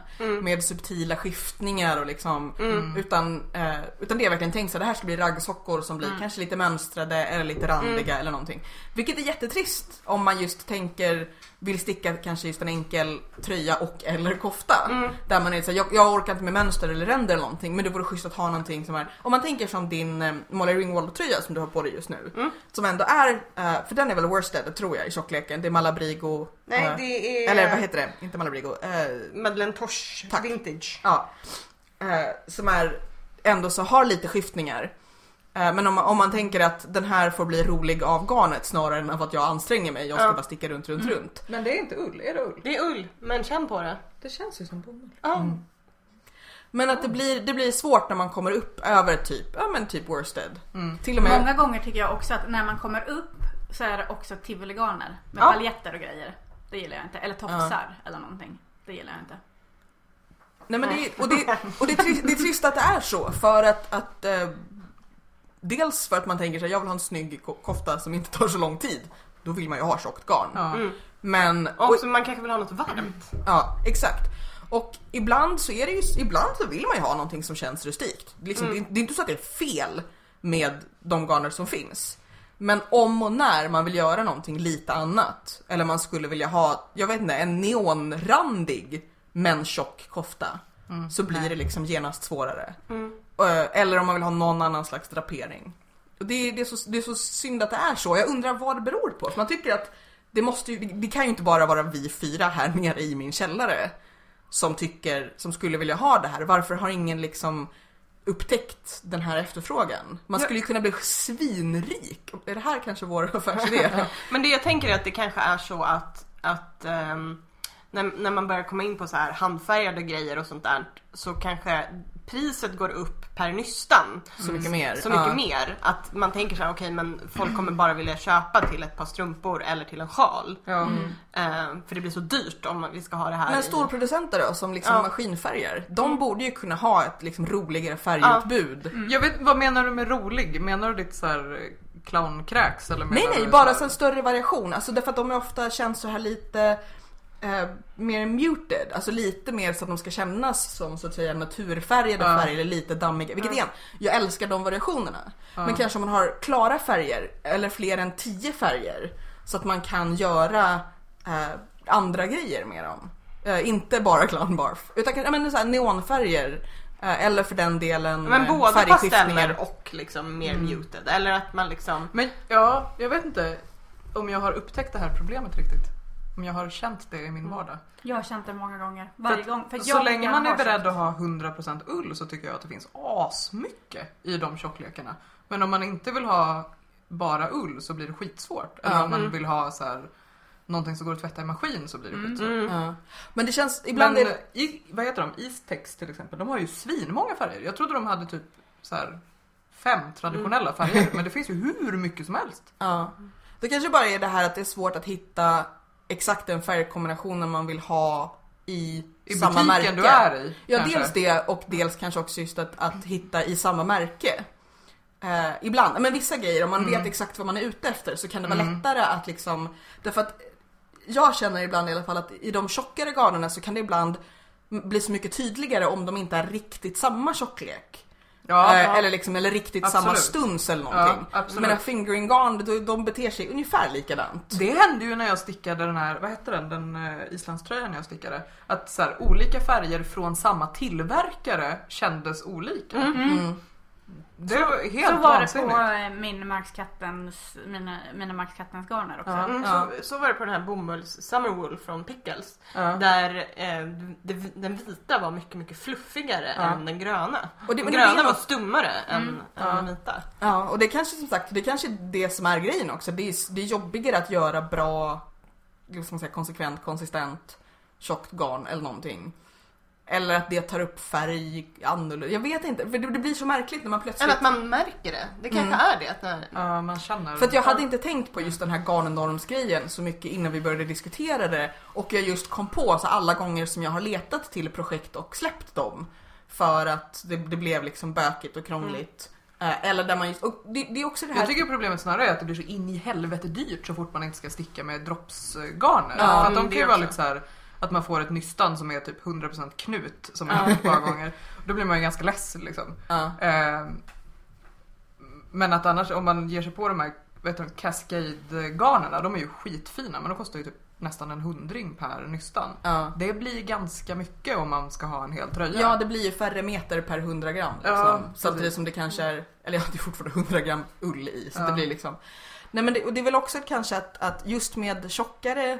S1: med subtila skiftningar och liksom, utan, eh, utan det är verkligen tänkt så här, det här ska bli raggsockor som blir kanske lite mönstrade eller lite randiga eller någonting. Vilket är jättetrist om man just tänker, vill sticka kanske just en enkel tröja och eller kofta. Där man är såhär, jag, jag orkar inte med mönster eller ränder eller någonting men det vore schysst att ha någonting som är, om man tänker som din eh, Molly Ringwald tröja som du har på dig just nu. Som ändå är, eh, för den är väl worsted tror jag i tjockleken, det är Malabrigo.
S4: Nej
S1: eh,
S4: det är
S1: Eller vad heter det? Inte Malabrigo. Eh,
S4: Madeleine Tosh
S1: Tack.
S4: Vintage.
S1: Ja. Eh, som är ändå så har lite skiftningar. Eh, men om, man- om man tänker att den här får bli rolig av garnet snarare än av att jag anstränger mig. Jag ska
S4: Ja. Mm.
S1: bara sticka runt, runt, runt.
S3: Men det är inte ull, är det ull?
S4: Det är ull, men känn på det.
S3: Det känns ju som bomull.
S4: Ja.
S1: Mm. Men
S4: Mm.
S1: att det blir, det blir svårt när man kommer upp över typ, ja men typ worsted.
S4: Mm.
S1: Till och med.
S2: Många gånger tycker jag också att när man kommer upp så är det också tivoligarner med
S4: Ja.
S2: paljetter och grejer. Det gillar jag inte. Eller tofsar eller någonting. Det gillar jag inte.
S1: Nej, men det, är- och det, och det, är trist, det är trist att det är så för att, att eh, Dels för att man tänker sig jag vill ha en snygg ko- kofta som inte tar så lång tid. Då vill man ju ha tjockt garn.
S3: Ja.
S4: Mm.
S1: Men,
S4: Och
S1: och,
S4: så man kanske vill ha något varmt.
S1: ja exakt. Och ibland så är det ju, ibland så vill man ju ha någonting som känns rustikt. Liksom, det, det är inte så att det är fel med de garner som finns. Men om och när man vill göra någonting lite annat, eller man skulle vilja ha, jag vet inte, en neonrandig men tjock kofta. Så blir det liksom genast svårare. Eh, Eller om man vill ha någon annan slags drapering. Och det, är, det, är så, det är så synd att det är så. Jag undrar vad det beror på. För man tycker att det, måste ju, det kan ju inte bara vara vi fyra här nere i min källare som tycker, som skulle vilja ha det här. Varför har ingen liksom upptäckt den här efterfrågan? Man skulle ju kunna bli svinrik. Är det här kanske vår [LAUGHS] affärsidé?
S4: Men det jag tänker är att det kanske är så att, att ehm, när, när man börjar komma in på så här handfärgade grejer och sånt där så kanske priset går upp per nystan.
S1: Så mycket mer.
S4: så mycket
S1: Ja.
S4: mer. Att man tänker så här, okej men folk kommer bara vilja köpa till ett par strumpor eller till en sjal.
S3: Ja.
S4: Eh, för det blir så dyrt om vi ska ha det här.
S1: Men
S4: i-
S1: storproducenter då, som liksom
S4: Ja. Mm.
S1: maskinfärger, de borde ju kunna ha ett liksom roligare färgutbud.
S3: Mm. Jag vet, vad menar du med rolig? Menar du ditt så här eh, clownkräks? Eller
S1: Nej
S3: menar
S1: nej,
S3: du
S1: bara
S3: så
S1: så
S3: här-
S1: en större variation. Alltså därför att de är ofta känns så här lite eh, mer muted. Alltså lite mer så att de ska kännas som så att säga naturfärgade
S3: Ja.
S1: färger eller lite dammiga. Vilket igen, jag älskar de variationerna. Men kanske om man har klara färger eller fler än tio färger. Så att man kan göra eh, andra grejer med dem. Eh, inte bara clown barf. Utan kan- ja, men, så här, neonfärger. Eh, eller för den delen
S4: Men
S1: eh,
S4: båda
S1: färgskiftningar.
S4: pasteller och liksom mer muted. Eller att man liksom
S3: Men ja, jag vet inte om jag har upptäckt det här problemet riktigt. Om jag har känt det i min vardag.
S2: Jag har känt det många gånger. Varje
S3: För
S2: gång. För
S3: Så
S2: jag
S3: länge man
S2: har
S3: är beredd
S2: känt-
S3: att ha 100% ull så tycker jag att det finns asmycket i de tjocklekarna. Men om man inte vill ha bara ull så blir det skitsvårt. Eller om
S1: Mm.
S3: man vill ha så här, någonting som går att tvätta i maskin så blir det skitsvårt.
S4: Mm.
S1: Ja. Men det känns Mm, ibland
S3: Ibland
S1: är
S3: Men
S1: det...
S3: i, vad heter de? Istex till exempel. De har ju svinmånga färger. Jag trodde de hade typ så här fem
S1: Mm. [LAUGHS]
S3: traditionella färger. Men det finns ju hur mycket som helst.
S1: Ja. Det kanske bara är det här att det är svårt att hitta exakt den färgkombinationen man vill ha i,
S3: I
S1: samma
S3: butiken
S1: märke.
S3: du är i.
S1: Ja,
S3: kanske.
S1: dels det och dels kanske också just att, att hitta i samma märke. Eh, ibland, men vissa grejer om man
S3: Mm.
S1: vet exakt vad man är ute efter så kan det vara lättare att liksom, därför att jag känner ibland i alla fall att i de tjockare garnerna så kan det ibland m- bli så mycket tydligare om de inte är riktigt samma tjocklek.
S3: Ja,
S1: Eh,
S3: ja.
S1: Eller, liksom, eller riktigt samma
S3: Absolut.
S1: stuns eller någonting.
S3: Ja, absolut.
S1: Men fingering-garn, de, de beter sig ungefär likadant.
S3: Det hände ju när jag stickade den här, vad hette den, den eh, islandströjan jag stickade. Att så här, olika färger från samma tillverkare kändes olika.
S1: Mm.
S3: Det var Mm. helt
S2: Mm. Så var det
S3: vansinnigt.
S2: på eh, min Markskattens, mina, mina Markskattens garner också.
S4: Mm,
S1: Ja.
S4: så, så var det på den här bomulls Summerwool från Pickles.
S3: Ja.
S4: Där eh, det, den vita var mycket, mycket fluffigare
S3: Ja.
S4: än den gröna.
S1: Och det-
S4: den
S1: men det
S4: gröna
S1: är
S4: var
S1: något-
S4: stummare än, än den vita.
S1: Ja, och det kanske som sagt, det kanske är det som är grejen också. Det är, det är jobbigare att göra bra, vad ska man säga, konsekvent, konsistent, tjockt garn eller någonting. Eller att det tar upp färg annorlunda. Jag vet inte, för det, det blir så märkligt när man
S4: Eller
S1: plötsligt...
S4: att man märker det. Det kanske är det. Att när,
S3: Ja, man känner.
S1: För att jag hade inte tänkt på just den här garnnormsgrejen så mycket innan vi började diskutera det. Och jag just kom på så alla gånger som jag har letat till projekt och släppt dem. För att det, det blev liksom bökigt och krångligt. Eh, Eller där man just, och det, det är också det här...
S3: Mm. Jag tycker problemet snarare är att det blir så in i helvete dyrt så fort man inte ska sticka med droppsgarner.
S1: Ja,
S3: För att
S4: mm,
S3: de
S4: det
S3: kan ju vara
S4: också.
S3: lite så här att man får ett nystan som är typ 100% knut som jag har haft ett par gånger. Då blir man ju ganska less liksom.
S1: Ja.
S3: Ehm, Men att annars om man ger sig på de här vet du, Cascade-garnerna, de är ju skitfina men de kostar ju typ nästan en hundring per nystan.
S1: Ja.
S3: Det blir ganska mycket om man ska ha en hel tröja.
S1: Ja, det blir ju färre meter per 100 gram. Liksom.
S3: Ja,
S1: Samtidigt
S3: precis.
S1: som det kanske är, eller ja, det är fortfarande 100 gram ull i. Så
S3: Ja.
S1: det blir liksom. Nej men det, och det är väl också kanske att, att just med tjockare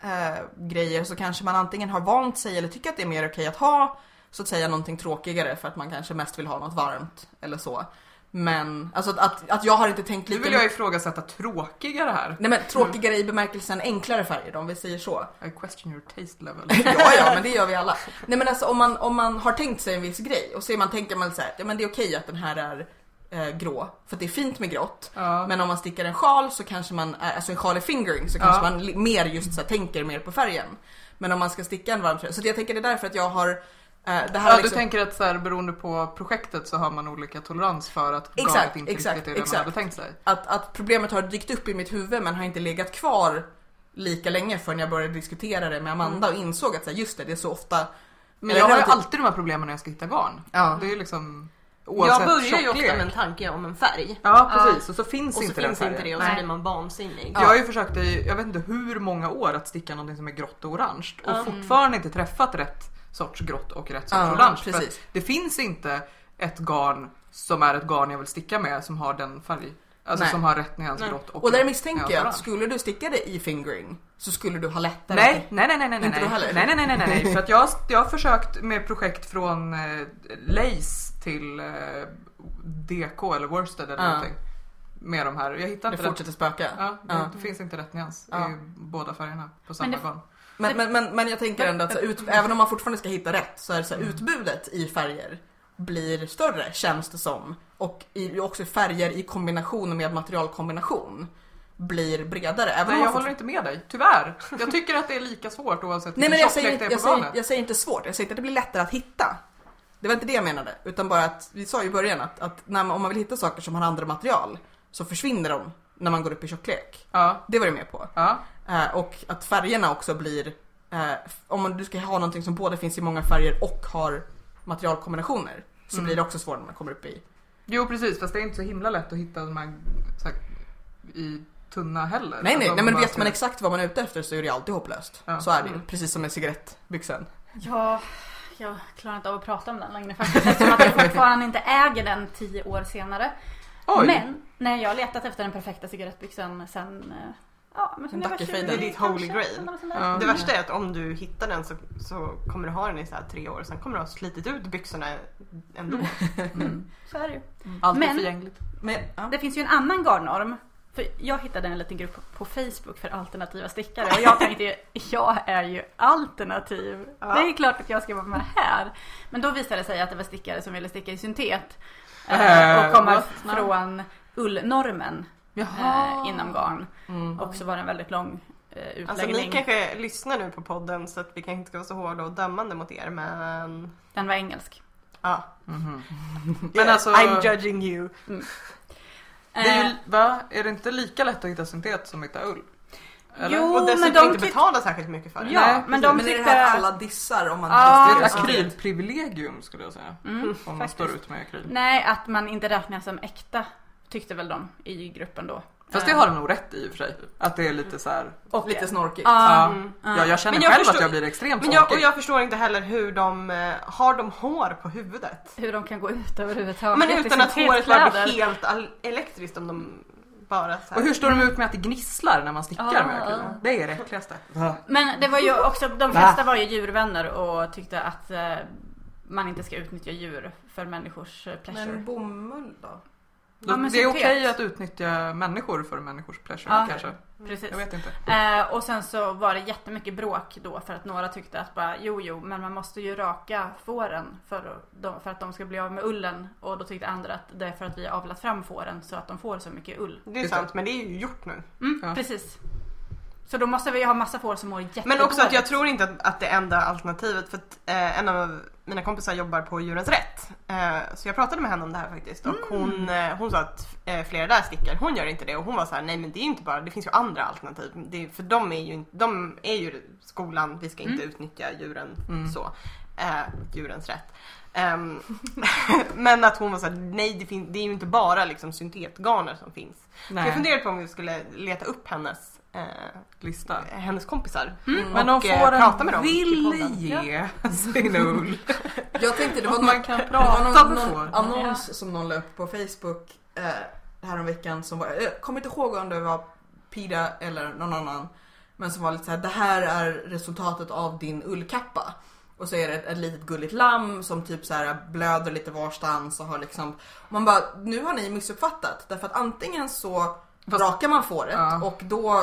S1: eh, grejer så kanske man antingen har vant sig eller tycker att det är mer okej att ha så att säga någonting tråkigare för att man kanske mest vill ha något varmt eller så. Men alltså att, att, att jag har inte tänkt
S3: Nu
S1: lika
S3: vill jag ifrågasätta tråkigare här.
S1: Nej men tråkigare i bemärkelsen enklare färger då, om vi säger så.
S3: I question your
S1: [LAUGHS]
S3: taste level.
S1: Ja, ja, men det gör vi alla. Nej, men alltså om man, om man har tänkt sig en viss grej och så är man, tänker man så här, ja men det är okej att den här är eh, grå, för att det är fint med grått.
S3: Ja.
S1: Men om man stickar en sjal så kanske man, är- alltså en sjal i fingering så kanske
S3: Ja.
S1: man li- mer just så här, tänker mer på färgen. Men om man ska sticka en varm tröja, så det jag tänker det är därför att jag har Eh, det här
S3: Ja,
S1: liksom,
S3: du tänker att så här, beroende på projektet så har man olika tolerans för att
S1: Exakt,
S3: galet inte
S1: exakt,
S3: riktigt är det
S1: exakt.
S3: man hade tänkt sig.
S1: att, att problemet har dykt upp i mitt huvud men har inte legat kvar lika länge förrän jag började diskutera det med Amanda och insåg att så här, just det, det är så ofta
S3: Men
S1: Eller
S3: jag har ju
S1: relativt-
S3: alltid de här problemen när jag ska hitta garn.
S1: Ja.
S3: Det är ju liksom oavsett
S4: Jag börjar ju ofta
S3: tjocklek.
S4: med en tanke om en färg.
S3: Ja precis och så finns
S4: Och så
S3: inte den
S4: finns inte
S3: färgen.
S4: det och så
S2: Nej.
S4: blir man vansinnig.
S3: Jag har ju försökt i jag vet inte hur många år att sticka någonting som är grått och orange och fortfarande inte träffat rätt sorts grått och rätt sorts
S1: Ja,
S3: orange. För
S1: precis.
S3: att det finns inte ett garn som är ett garn jag vill sticka med som har den färg. Alltså
S1: Nej.
S3: som har rätt nyans
S4: Nej.
S3: grått och
S1: Och där
S3: rätt
S1: misstänker
S3: nyans
S1: jag att
S3: orange.
S1: skulle du sticka det i fingering så skulle du ha lättare
S3: Nej, nej, nej, nej, nej,
S1: Inte
S3: nej.
S1: du heller?
S3: nej, nej, nej, nej, nej, för att jag, jag har försökt med projekt från eh, Lace till eh, DK eller Worsted eller
S1: Ja.
S3: någonting. Med de här, jag hittar
S1: att det
S3: inte rätt.
S1: fortsätter spöka.
S3: Ja, det
S1: Ja.
S3: finns inte rätt nyans
S1: Ja.
S3: i båda färgerna på samma
S2: Men det-
S3: gång.
S1: Men, men, men, men jag tänker ändå att så här,
S3: Mm.
S1: ut, även om man fortfarande ska hitta rätt så är det så här, utbudet i färger blir större känns det som. Och i, också färger i kombination med materialkombination blir bredare. Även om
S3: Nej,
S1: man
S3: jag
S1: fort-
S3: håller inte med dig. Tyvärr. Jag tycker att det är lika svårt oavsett
S1: Nej men
S3: vilken
S1: jag
S3: tjocklek
S1: säger,
S3: det
S1: inte,
S3: är
S1: jag,
S3: på
S1: säger,
S3: garnet.
S1: jag säger inte svårt, jag säger inte att det blir lättare att hitta. Det var inte det jag menade, utan bara att vi sa ju i början att, att när man, om man vill hitta saker som har andra material så försvinner de när man går upp i tjocklek.
S3: Ja,
S1: Det var jag med på.
S3: ja.
S1: Eh, och att färgerna också blir, eh, f- om man- du ska ha någonting som både finns i många färger och har materialkombinationer så blir det också svårare när man kommer upp i.
S3: Jo precis, fast det är inte så himla lätt att hitta de här, så här i tunna heller.
S1: Nej nej,
S3: Alltså, om
S1: nej men
S3: bara
S1: vet
S3: ska-
S1: man exakt vad man är ute efter så är det alltid hopplöst.
S3: Ja.
S1: Så är det ju, precis som med cigarettbyxan. [LAUGHS]
S2: Ja, jag klarar inte av att prata om den längre faktiskt. Eftersom att jag fortfarande inte äger den tio år senare.
S3: Oj.
S2: Men nej, jag har letat efter den perfekta cigarettbyxan sen... eh, Ja, men sen
S1: En
S2: jag var 20
S1: Ducky-fade,
S4: ditt
S2: kanske,
S4: holy grail.
S2: eller något sånt där.
S3: Ja.
S4: Det värsta är att om du hittar den så, så kommer du ha den i så här tre år och sen kommer du ha slitit ut byxorna ändå.
S2: Så är det ju.
S3: Allt är
S2: Men-
S3: förgängligt.
S1: Mm. Men, ja.
S2: Det finns ju en annan garnorm. För jag hittade en liten grupp på Facebook för alternativa stickare och jag tänkte ju, [LAUGHS] jag är ju alternativ.
S4: Ja.
S2: Det är ju klart att jag ska vara med här. Men då visade det sig att det var stickare som ville sticka i syntet. eh,
S3: Eh,
S2: Och komma
S3: what?
S2: från ullnormen
S3: Jaha.
S2: eh, inom garn.
S1: Mm.
S2: Och så var det en väldigt lång eh, utläggning.
S4: Alltså ni kanske lyssnar nu på podden så att vi kanske inte ska vara så hårda och dömande mot er men...
S2: Den var engelsk.
S4: Ja.
S1: [LAUGHS]
S3: Mhm. Men alltså,
S4: I'm judging you.
S3: det är
S2: Eh,
S3: ju, va? Är det inte lika lätt att hitta syntet som att hitta ull? Eller?
S2: Jo,
S4: och
S2: men
S4: dessutom
S2: de
S4: inte
S2: tyck-
S4: betala särskilt mycket för det.
S2: Ja,
S3: Nej,
S2: men de
S1: men är det
S2: tyckte
S1: här
S2: att-
S1: alla dissar om man
S2: Ja,
S3: Det är ett
S1: just det.
S3: akrylprivilegium skulle jag säga.
S2: Mm,
S3: Om man
S2: faktiskt.
S3: står ut med akryl.
S2: Nej, att man inte räknas som äkta tyckte väl de i gruppen då. Eh,
S3: Fast det har de nog rätt i och för sig. Att det är lite så här.
S1: Och lite snorkigt.
S2: Ja,
S3: Ja,
S4: Mm.
S3: ja, jag känner
S4: Men jag
S3: själv att
S4: förstår-
S3: jag blir extremt
S4: Men jag, och
S3: tråkig.
S4: jag förstår inte heller hur de... eh, Har de hår på huvudet?
S2: hur de kan gå ut överhuvudtaget.
S4: Men
S2: i
S4: utan att håret bara
S2: syntetkläder.
S4: blir helt al- elektriskt om de bara så här.
S3: Och hur står de ut med att det gnisslar när man stickar
S2: Ja,
S3: med akryl?
S2: ja.
S3: Det är det äckligaste.
S2: Men det var ju också, de flesta var ju djurvänner och tyckte att eh, man inte ska utnyttja djur för människors eh, pleasure.
S1: Men bomull då?
S2: Ja, men
S3: det är
S2: syntet.
S3: okej att utnyttja människor för människors pleasure
S2: Ja.
S3: kanske.
S2: Precis.
S3: Jag vet inte.
S2: Eh, och sen så var det jättemycket bråk då för att några tyckte att bara jo jo men man måste ju raka fåren för, att de- för att de ska bli av med ullen och då tyckte andra att det är för att vi har avlat fram fåren så att de får så mycket ull.
S4: Det är sant men det är ju gjort nu.
S2: Mm,
S3: Ja.
S2: Precis. Så då måste vi ha massa får som mår jättedåligt.
S4: Men också att jag tror inte att, att det är enda alternativet för att eh, en av mina kompisar jobbar på Djurens Rätt. Eh, så jag pratade med henne om det här faktiskt och hon, eh, hon sa att eh, flera där stickar, hon gör inte det och hon var så här, nej men det är inte bara, det finns ju andra alternativ. Det, för de är ju, inte- de är ju skolan, vi ska inte utnyttja djuren så. Eh, djurens Rätt. Ehm, [LAUGHS] men att hon var såhär, nej det, fin- det är ju inte bara liksom syntetgarner som finns. Så jag funderade på om vi skulle leta upp hennes eh,
S3: Lista.
S4: hennes kompisar.
S2: Mm.
S3: Men om
S4: Och, eh, prata med dem
S3: fåren
S4: till
S3: vill
S4: podden.
S3: ge
S4: [LAUGHS]
S3: sin ull.
S1: Jag tänkte det var
S3: Om
S1: någon,
S3: man kan
S1: Det var
S3: prata
S1: någon,
S3: med
S1: någon
S3: får.
S1: annons som någon la upp på Facebook eh, häromveckan som var, jag kommer inte ihåg om det var Pida eller någon annan. Men som var lite så här: det här är resultatet av din ullkappa. Och så är det ett, ett litet gulligt lamm som typ så här blöder lite varstans och har liksom. Man bara, nu har ni missuppfattat. Därför att antingen så
S3: Fast-
S1: rakar man fåret
S3: Ja.
S1: och då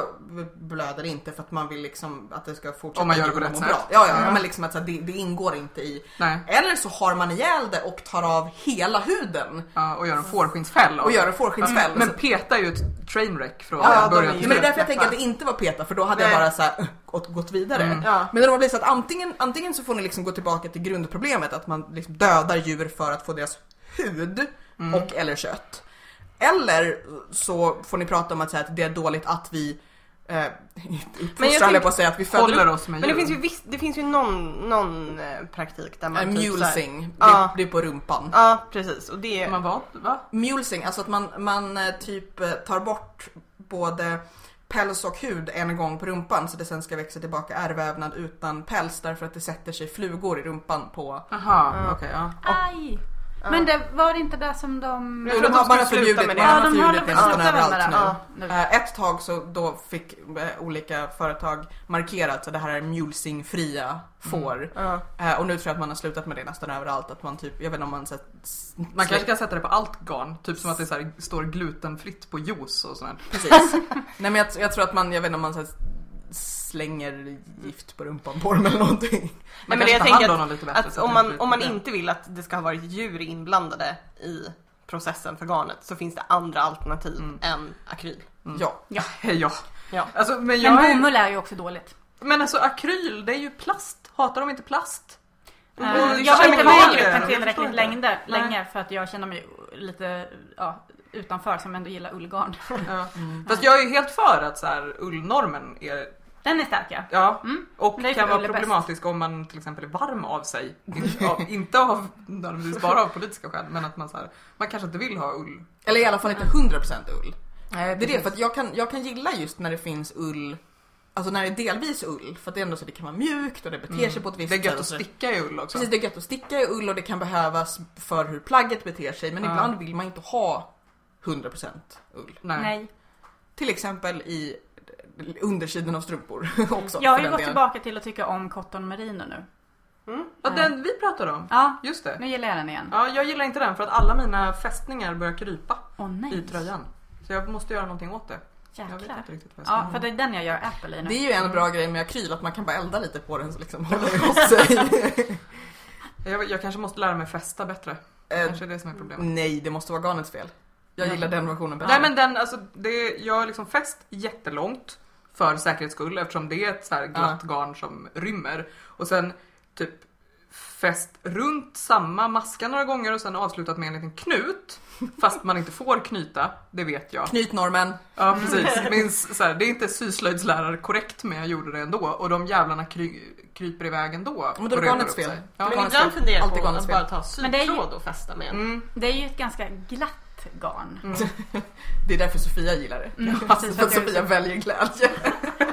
S1: blöder det inte för att man vill liksom att det ska fortsätta
S3: Om man gör det på
S1: må
S3: rätt
S1: bra.
S3: sätt.
S1: Ja, ja,
S3: Ja.
S1: ja. men liksom att så här, det, det ingår inte i.
S3: Nej.
S1: Eller så har man ihjäl det och tar av hela huden
S3: Ja, och gör en fårskinnsfäll. av
S1: och
S3: det.
S1: gör en fårskinnsfäll.
S3: Men peta är ju ett trainwreck från
S1: Ja, ja,
S3: början
S1: de är- men
S3: till
S1: det är
S3: slut.
S1: därför jag tänker att det inte var PETA för då hade
S4: Nej. Mm.
S1: jag bara så här, äh, gått, gått vidare.
S4: [LAUGHS] Ja.
S1: Men det har blivit så att antingen, antingen så får ni liksom gå tillbaka till grundproblemet att man liksom dödar djur för att få deras hud och eller kött. Eller så får ni prata om att, säga att det är dåligt att [LAUGHS] vi eh, men jag
S4: tänker-
S1: på att säga att vi
S3: Håller
S1: föder
S3: oss med
S4: Men det
S3: djur.
S4: finns ju, visst, det finns ju någon, någon eh, praktik där man
S1: äh,
S4: typ så här-
S1: mulesing. Det,
S4: Ja.
S1: det är på rumpan.
S4: Ja precis och det
S3: Man vad? Va?
S1: Mulesing, alltså att man, man eh, typ eh, tar bort både päls och hud en gång på rumpan så det sen ska växa tillbaka ärrvävnad utan päls därför att det sätter sig flugor i rumpan på...
S3: Jaha, okej. ja.
S2: Aj! Men det var det inte det som de...
S4: tror att de skulle sluta med det.
S1: man har
S2: Ja, de
S1: förbjudit
S2: håller på
S1: det
S2: att
S1: nästan
S2: sluta med
S1: överallt
S2: det.
S1: nu.
S2: Ja,
S1: Eh,
S2: nu.
S1: Ett tag så då fick eh, olika företag markerat att det här är mulesing-fria får.
S4: Ja.
S1: Eh, Och nu tror jag att man har slutat med det nästan överallt. Att man typ, jag vet inte om man sett...
S3: Man kanske kan sätta det på allt garn. Typ som att det så här står glutenfritt på juice och sådär.
S1: Precis.
S4: [LAUGHS]
S1: Nej men jag, jag tror att man, jag vet inte om man så här, slänger gift på rumpan på dem eller någonting.
S3: Man
S4: Nej, men
S3: kanske
S4: jag
S3: tar hand
S4: tänker
S3: om dem lite bättre
S4: att
S3: så att
S4: om
S3: det
S4: man,
S3: blir-
S4: om man inte vill att det ska ha varit djur inblandade i processen för garnet så finns det andra alternativ än akryl.
S1: Ja.
S3: Hej, Ja.
S4: Ja.
S3: Alltså, men jag
S2: Men
S3: är-
S2: bomull är ju också dåligt.
S3: Men alltså akryl, det är ju plast. Hatar de
S2: [LAUGHS]
S3: inte plast?
S2: Eh,
S3: det är
S2: jag har inte med i
S3: kemikalier.
S2: gruppen
S3: Jag förstår
S2: tillräckligt
S3: inte.
S2: länge,
S3: Nej.
S2: länge för att jag känner mig lite ja, utanför som ändå gillar ullgarn.
S3: Ja. Fast jag är ju helt för att så här, ullnormen är,
S2: Den är stark ja.
S3: ja,
S2: Mm.
S3: och
S2: Det är
S3: kan
S2: för
S3: vara
S2: ull är bäst.
S3: problematisk om man till exempel är varm av sig. Inte
S2: [LAUGHS]
S3: av, inte av nödvändigtvis bara av politiska skäl, men att man så här, man kanske inte vill ha ull.
S1: Eller i alla fall inte 100% ull.
S3: Nej,
S1: Eh, Det är det, för att jag kan, jag kan gilla just när det finns ull, alltså när det är delvis ull, för att det är ändå så det kan vara mjukt och det beter
S4: Mm.
S1: sig på ett visst
S3: Det är gött
S1: sätt och
S3: att
S1: så-
S3: sticka i ull också.
S1: Precis, det är gött att sticka i ull och det kan behövas för hur plagget beter sig, men
S3: Ja.
S1: ibland vill man inte ha 100% ull.
S3: Nej.
S2: Nej.
S1: Till exempel i undersidan av strumpor [LAUGHS] också.
S2: Jag har
S1: för
S2: ju
S1: den
S2: gått
S1: delen.
S2: tillbaka till att tycka om cotton merino nu.
S3: Mm. Ja, den vi pratade om.
S2: Ja,
S3: Just det.
S2: nu gillar jag den igen.
S3: Ja, jag gillar inte den för att alla mina fästningar börjar krypa
S2: Åh nej.
S3: i tröjan. Så jag måste göra någonting åt det. Jag vet
S2: Jäklar.
S3: inte riktigt vad jag ska
S2: Ja,
S3: göra.
S2: för det är den jag gör Apple i nu.
S1: Det är ju en bra grej med akryl, att man kan bara elda lite på den så liksom håller det åt sig.
S3: jag, jag kanske måste lära mig fästa bättre.
S1: Eh,
S3: Kanske är det som är problemet.
S1: Nej, det måste vara garnets fel. Jag gillar den versionen bättre.
S3: Nej men den, alltså det, jag har liksom fäst jättelångt för säkerhets skull eftersom det är ett så här glatt garn som rymmer. Och sen typ fäst runt samma maska några gånger och sen avslutat med en
S1: [LAUGHS]
S3: liten knut. Fast man inte får knyta, det vet jag.
S1: Knyt normen.
S3: Ja precis, Min, s- så här, det är inte syslöjdslärare korrekt men jag gjorde det ändå och de jävlarna kry, kryper iväg ändå.
S1: Men då är
S3: och
S1: det
S3: rullar
S1: garnets
S3: upp sig.
S1: fel.
S3: Ja.
S1: Det
S4: Men
S1: är
S4: ibland funderar jag
S1: Alltid
S4: på att
S1: garnets fel.
S4: bara ta
S2: Men det är ju-
S4: sytråd och fästa med.
S3: Mm.
S2: Det är ju ett ganska glatt garn.
S1: Det är därför Sofia gillar det.
S2: Mm,
S1: Ja, för
S2: precis, för
S1: att
S2: att du-
S1: Sofia väljer glädje.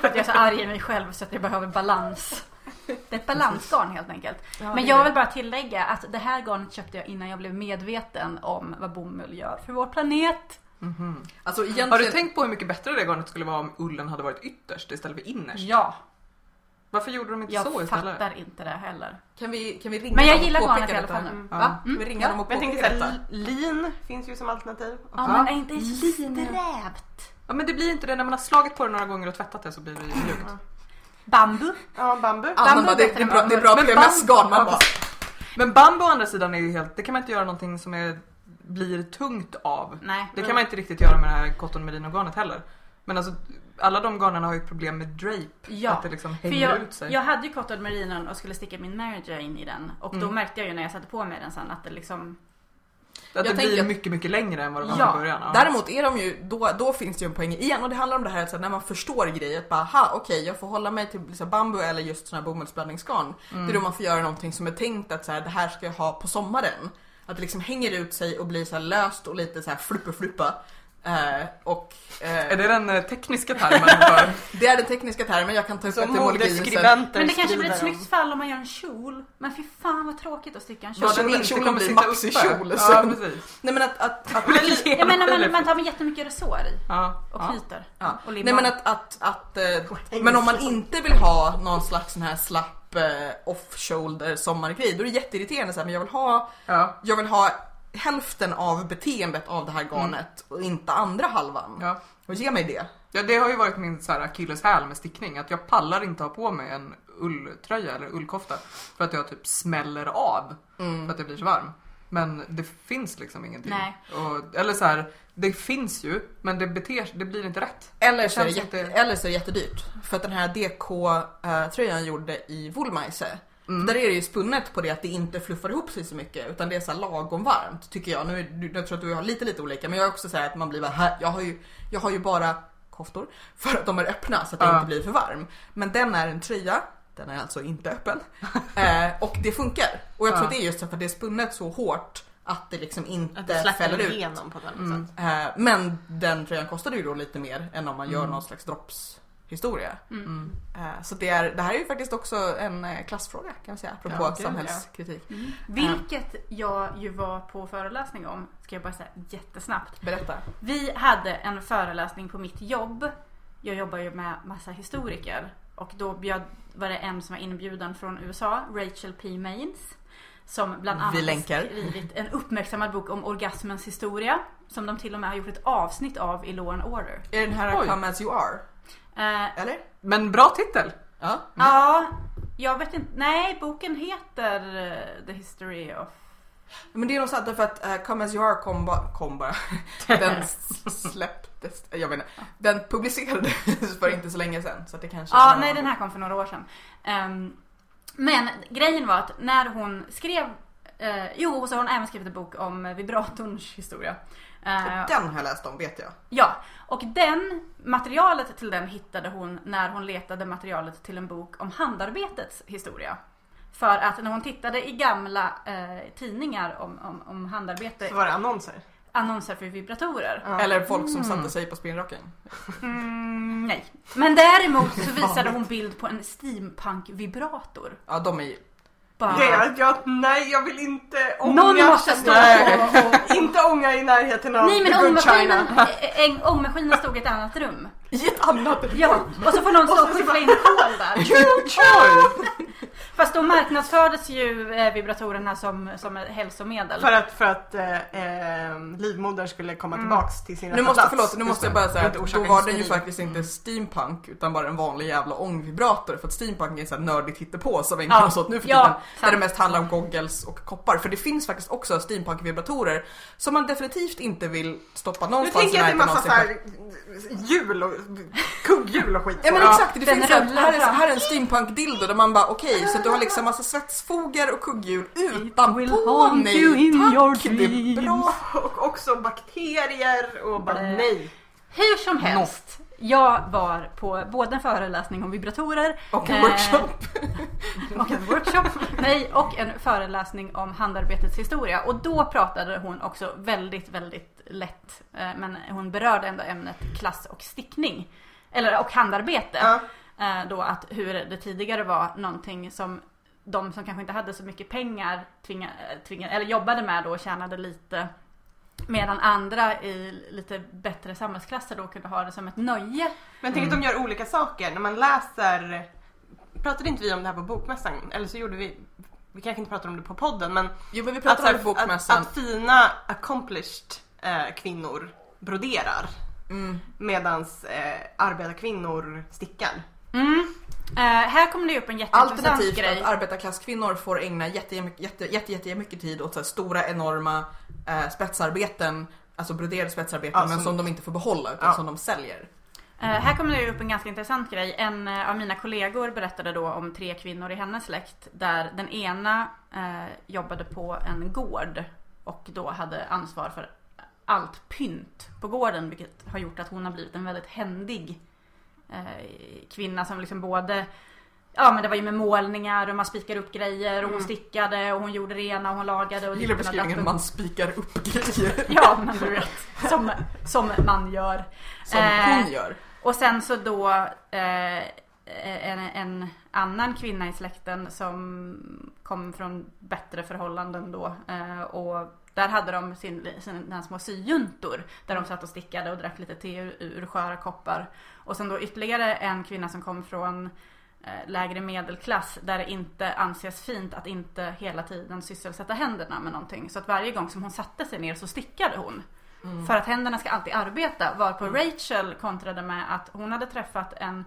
S2: För att jag är så arg i mig själv så att jag behöver balans. Det är ett balansgarn helt enkelt.
S1: Ja,
S2: Men
S1: det
S2: jag
S1: är
S2: vill bara tillägga att det här garnet köpte jag innan jag blev medveten om vad bomull gör för vår planet.
S3: mm,
S1: Alltså egentligen...
S3: Har du tänkt på hur mycket bättre det garnet skulle vara om ullen hade varit ytterst istället för innerst?
S2: Ja,
S3: Varför gjorde de inte så
S2: jag
S3: istället?
S2: fattar inte det heller.
S1: Kan vi, kan vi ringa
S2: Men jag
S1: dem och
S2: gillar
S1: påpeka
S2: garnet i alla
S1: detta?
S2: fall nu.
S1: Va?
S2: Mm.
S1: Vi ringer dem och
S4: Men jag tänker
S1: påpekar
S4: såhär,
S1: detta.
S4: lin finns ju som alternativ.
S2: Ja,
S3: Ja.
S2: men är inte det så strävt?
S3: Ja men det blir inte det, när man har slagit på det några gånger och tvättat det så blir det ju mjukt.
S2: Bambu?
S4: Ja, bambu.
S1: Annan
S2: Bambu
S1: bara, det,
S2: bättre
S1: det är
S2: än
S1: bra, det är bra
S3: Men
S1: PMS-garn.
S3: bambu-
S1: Man bara,
S3: Men bambu å andra sidan är ju helt, det kan man inte göra någonting som är, blir tungt av.
S2: Nej.
S3: Det kan man inte riktigt göra med det här cotton merino-garnet heller. Men alltså alla de garnen har ju problem med drape,
S2: Ja,
S3: att det liksom
S2: För
S3: hänger
S2: jag,
S3: ut sig.
S2: jag hade ju cotton merinon och skulle sticka min Mary Jane i den och då
S3: Mm.
S2: märkte jag ju när jag satte på mig den sen att det liksom
S3: att det
S1: jag tänker
S3: blir
S1: att-
S3: mycket, mycket längre än vad det var
S2: Ja,
S3: från början. Ja.
S1: Däremot är de ju, då, då finns det ju en poäng igen och det handlar om det här att så här, när man förstår grejet, bara aha okej jag får hålla mig till så här, bambu eller just sån här bomullsblandningsgarn.
S3: Mm.
S1: Det är då man får göra någonting som är tänkt att så här, det här ska jag ha på sommaren. Att det liksom hänger ut sig och blir så här löst och lite så här fluppa Eh, och
S3: Är
S1: eh,
S3: det den eh,
S2: [LAUGHS]
S3: tekniska
S1: [LAUGHS]
S3: termen för...
S1: det är den tekniska termen, jag kan ta upp
S4: Som
S1: etymologin
S4: modeskribenter
S2: Men det kanske blir ett
S4: skriver om.
S2: snyggt fall om man gör en kjol. Men fy fan vad tråkigt att sticka en kjol.
S1: Ja, den inte kommer bli maxikjol
S3: Ja
S1: sen.
S3: precis.
S1: Nej men att, att,
S3: [LAUGHS]
S1: att [LAUGHS]
S2: Jag menar man, man tar med jättemycket resår i
S3: Ja,
S2: och
S3: ja.
S2: knyter.
S1: Ja.
S2: Och limmar.
S1: Nej men att, att, att eh, men om man inte vill ha någon slags sån här slapp eh, off-shoulder sommargrej då är det jätteirriterande så här, men jag vill ha,
S3: ja.
S1: jag vill ha hälften av beteendet av det här garnet och inte andra halvan.
S3: ja.
S1: Och Och ge mig det.
S3: Ja, det har ju varit min så här akilleshäl med stickning. Att jag pallar inte ha på mig en ulltröja eller ullkofta. För att jag typ smäller av. För att jag blir så varm. Men det finns liksom ingenting.
S2: Nej.
S3: Och, eller så här, det finns ju men det, beter, det blir inte rätt.
S1: Eller så, är det
S3: Känns
S1: jätte,
S3: inte-
S1: eller så är det jättedyrt. För att den här DK-tröjan jag gjorde i Woolmeise.
S3: Mm.
S1: Där är det ju spunnet på det att det inte fluffar ihop sig så mycket utan det är så här lagom varmt tycker jag. Nu, är du- jag tror att du har lite lite olika men jag är också så här att man blir bara här, jag har ju, jag har ju bara koftor [LAUGHS] för att de är öppna så att jag
S3: Ja.
S1: inte blir för varm. Men den är en tröja, den är alltså inte
S3: [LAUGHS]
S1: öppen. eh, och det funkar. Och jag tror
S3: Ja.
S1: det är just för att det är spunnet så hårt att det liksom inte
S4: Att det
S1: fäller
S4: släpper
S1: ut.
S4: igenom på ett annat
S3: Mm.
S4: sätt.
S1: Eh, Men den tröjan kostade ju då lite mer än om man gör någon slags droppshistoria.
S3: Mm.
S1: Eh, Så det, är, det här är ju faktiskt också en eh, klassfråga kan jag säga, apropå
S3: Ja, gud, ja.
S1: samhällskritik.
S2: Vilket jag ju var på föreläsning om, ska jag bara säga jättesnabbt.
S1: Berätta.
S2: Vi hade en föreläsning på mitt jobb. Jag jobbar ju med massa historiker och då bjöd, var det en som var inbjuden från USA, Rachel P. Maines. Som bland annat
S1: Vi länkar.
S2: har skrivit en uppmärksammad bok om orgasmens historia. Som de till och med har gjort ett avsnitt av i Law and Order.
S1: Är den här
S3: Oj.
S1: Come As You Are?
S2: Eh,
S1: Eller?
S3: Men bra titel!
S1: Ja.
S2: Ja, jag vet inte. Nej, boken heter eh, The History of...
S1: Men det är nog sant därför att eh, Come As You Are kom, ba- kom bara. [LAUGHS] Den s- släpptes, jag menar, den publicerades [LAUGHS] för inte så länge sedan. Så att det kanske
S2: Ja, nej den här kom för några år sedan. Ehm, men grejen var att när hon skrev... eh, jo, så har hon även skrivit en bok om vibratorns historia. Eh,
S1: Den har jag läst om vet jag.
S2: Ja, och den materialet till den hittade hon när hon letade materialet till en bok om handarbetets historia. För att när hon tittade i gamla eh, tidningar om, om, om handarbete,
S4: Så var det annonser.
S2: annonser för vibratorer.
S1: Eller folk som satte sig på spinnrocken.
S2: Mm, nej. Men däremot så visade hon bild på en steampunk-vibrator.
S1: Ja, de är ju...
S2: Bara,
S4: Det är att jag, nej jag vill inte ånga.
S2: någon måste stå
S4: Nej.
S2: och... och-
S4: Inte ånga i närheten av
S2: Nej men
S4: The Good
S2: ångmaskinen,
S4: China.
S2: eh, eh, ångmaskinen stod i ett annat rum.
S1: I ett annat
S2: Ja, och så får någon stå och skyffla in kol där.
S3: Oj!
S2: Fast då marknadsfördes ju eh, vibratorerna som, som ett hälsomedel.
S4: För att, för att eh, eh, livmodern skulle komma tillbaks till sin
S1: Mm. Nu
S4: rätta
S1: måste,
S4: plats.
S1: förlåt, nu måste jag bara säga
S4: För
S1: att
S4: att
S1: då
S4: orsaka
S1: var den ju
S4: hysteri.
S1: faktiskt inte steampunk utan bara en vanlig jävla ångvibrator för att steampunk är så här nördigt hittepå som ingen
S2: Ja.
S1: ja. oss åt nu för
S2: Ja,
S1: tiden. Där
S2: sant.
S1: det mest handlar om goggles och koppar. För det finns faktiskt också steampunk-vibratorer som man definitivt inte vill stoppa
S4: Nu
S1: någonstans
S4: tänker jag att det är massa
S1: av sig själv.
S4: såhär hjul och kugghjul och skit.
S1: Ja men
S4: Ja.
S1: exakt, det
S2: den
S1: finns att,
S2: rullar
S1: här, är,
S2: fram.
S1: här är en steampunk-dildo där man bara okej, så att du har liksom massa svetsfogar och kugghjul utanpå.
S2: haunt
S1: Nej
S2: you in
S1: tack,
S2: your
S1: det är bra.
S4: Och också bakterier och bara
S2: Nej.
S4: nej.
S2: Hur som helst. Jag var på både en föreläsning om vibratorer
S1: Och en
S2: eh, [LAUGHS]
S1: workshop.
S2: och en workshop. Nej, och en föreläsning om handarbetets historia. Och då pratade hon också väldigt, väldigt lätt. eh, Men hon berörde ändå ämnet klass och stickning. Eller och handarbete.
S4: Ja.
S2: Eh, Då att hur det tidigare var någonting som de som kanske inte hade så mycket pengar tvinga, eh, tvinga, eller jobbade med då och tjänade lite. Medan andra i lite bättre samhällsklasser då kunde ha det som ett nöje.
S4: Men tänk att de gör olika saker när man läser. Pratade inte vi om det här på bokmässan? Eller så gjorde vi. Vi kanske inte pratade om det på podden men.
S1: Jo men vi pratar om det på
S4: att, att,
S1: bokmässan.
S4: att fina accomplished eh, kvinnor broderar. Medans eh, arbetarkvinnor stickar.
S2: Eh, här kommer det upp en jätteintressant
S1: Mm. Alternativt
S2: grej.
S1: att arbetarklasskvinnor får ägna jättemycket jätte, jätte, jätte, jättemycket tid åt så här stora enorma eh, spetsarbeten, alltså broderade spetsarbeten,
S4: Ja,
S1: men
S4: som-
S1: som de inte får behålla utan
S4: Ja.
S1: som de säljer.
S2: Eh, här kommer det upp en ganska intressant grej. En eh, av mina kollegor berättade då om tre kvinnor i hennes släkt där den ena eh, jobbade på en gård och då hade ansvar för allt pynt på gården vilket har gjort att hon har blivit en väldigt händig eh, kvinna som liksom både Ja men det var ju med målningar och man spikade upp grejer och hon stickade och hon gjorde det ena och hon lagade och
S1: Jag gillar
S2: ditten
S1: Mm.
S2: och
S1: beskrivningen
S2: datten.
S1: man spikar upp
S2: [LAUGHS]
S1: grejer
S2: Ja men du vet, som, som man gör.
S1: som
S2: Eh,
S1: hon gör.
S2: och sen så då eh, en, en annan kvinna i släkten som kom från bättre förhållanden då. Eh, och där hade de sin, sina små syjuntor där de satt och stickade och drack lite te ur, ur sköra koppar. Och sen då ytterligare en kvinna som kom från eh, lägre medelklass där det inte anses fint att inte hela tiden sysselsätta händerna med någonting. Så att varje gång som hon satte sig ner så stickade hon. För att händerna ska alltid arbeta. Varpå Rachel kontrade med att hon hade träffat en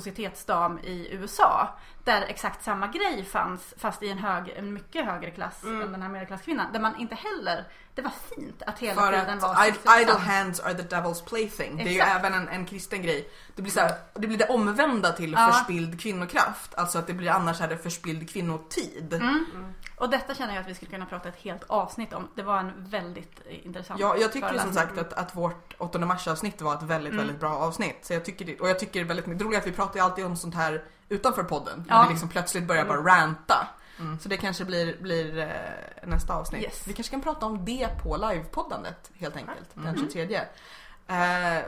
S2: societetsdam i USA. Där exakt samma grej fanns fast i en, hög, en mycket högre klass än den här medelklasskvinnan. Där man inte heller, det var fint att hela
S1: För
S2: tiden
S1: att
S2: vara
S1: id-
S2: sexuell.
S1: idle hands are the devil's plaything. Det är ju
S2: Exakt.
S1: även en, en kristen grej. Det blir, så här, det blir det omvända till
S2: Ja.
S1: förspilld kvinnokraft. Alltså att det blir annars är det förspilld kvinnotid.
S2: Mm.
S1: Mm.
S2: Och detta känner jag att vi skulle kunna prata ett helt avsnitt om. Det var en väldigt eh, intressant
S1: Ja, jag tycker ju som
S2: föreläsning.
S1: sagt att, att vårt 8 mars avsnitt var ett väldigt,
S2: Mm.
S1: väldigt bra avsnitt. Så jag tycker det, och jag tycker det är väldigt det roliga är att vi pratar ju alltid om sånt här utanför podden.
S2: Ja. Mm.
S1: När vi liksom plötsligt börjar bara ranta.
S3: Mm.
S1: Så det kanske blir, blir eh, nästa avsnitt.
S2: Yes. Mm.
S1: Vi kanske kan prata om det på livepoddandet helt enkelt. Den 23. Eh,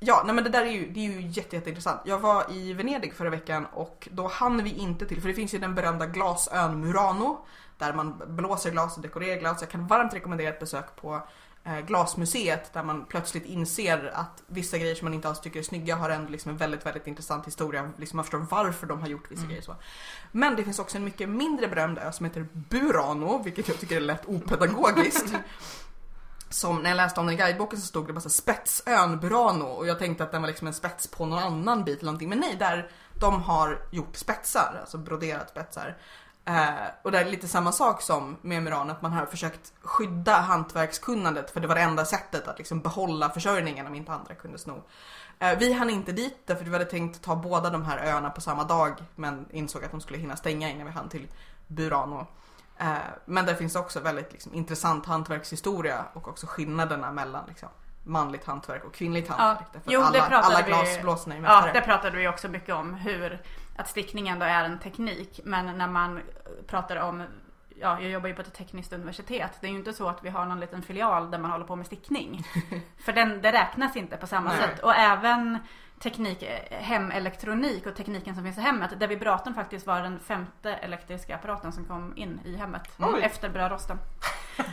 S1: ja, nej men det där är ju, det är ju jätte, jätteintressant. Jag var i Venedig förra veckan och då hann vi inte till, för det finns ju den berömda glasön Murano. Där man blåser glas och dekorerar glas. Jag kan varmt rekommendera ett besök på eh, Glasmuseet där man plötsligt inser att vissa grejer som man inte alls tycker är snygga har ändå liksom en väldigt, väldigt intressant historia. Liksom man förstår varför de har gjort vissa grejer så. Men det finns också en mycket mindre berömd ö som heter Burano, vilket jag tycker är lätt opedagogiskt. Som när jag läste om den i guideboken så stod det bara så här, spetsön Burano och jag tänkte att den var liksom en spets på någon annan bit eller någonting. Men nej, där de har gjort spetsar, alltså broderat spetsar. Eh, och det är lite samma sak som med Murano, att man har försökt skydda hantverkskunnandet för det var det enda sättet att liksom behålla försörjningen om inte andra kunde sno. Eh, vi hann inte dit därför vi hade tänkt ta båda de här öarna på samma dag men insåg att de skulle hinna stänga innan vi hann till Burano. Eh, men där finns också väldigt liksom, intressant hantverkshistoria och också skillnaderna mellan liksom, manligt hantverk och kvinnligt hantverk. Därför
S2: Jo,
S1: att
S2: det
S1: alla,
S2: pratade
S1: alla
S2: vi-
S1: glasblåsarna är
S2: Ja,
S1: mästare.
S2: det pratade vi också mycket om hur att stickningen då är en teknik men när man pratar om Ja, jag jobbar ju på ett tekniskt universitet. Det är ju inte så att vi har någon liten filial där man håller på med stickning. För den, det räknas inte på samma
S1: Nej.
S2: sätt. Och även teknik, eh, hemelektronik och tekniken som finns i hemmet. Där vibratorn faktiskt var den femte elektriska apparaten som kom in i hemmet.
S4: Oj.
S2: Efter brödrosten.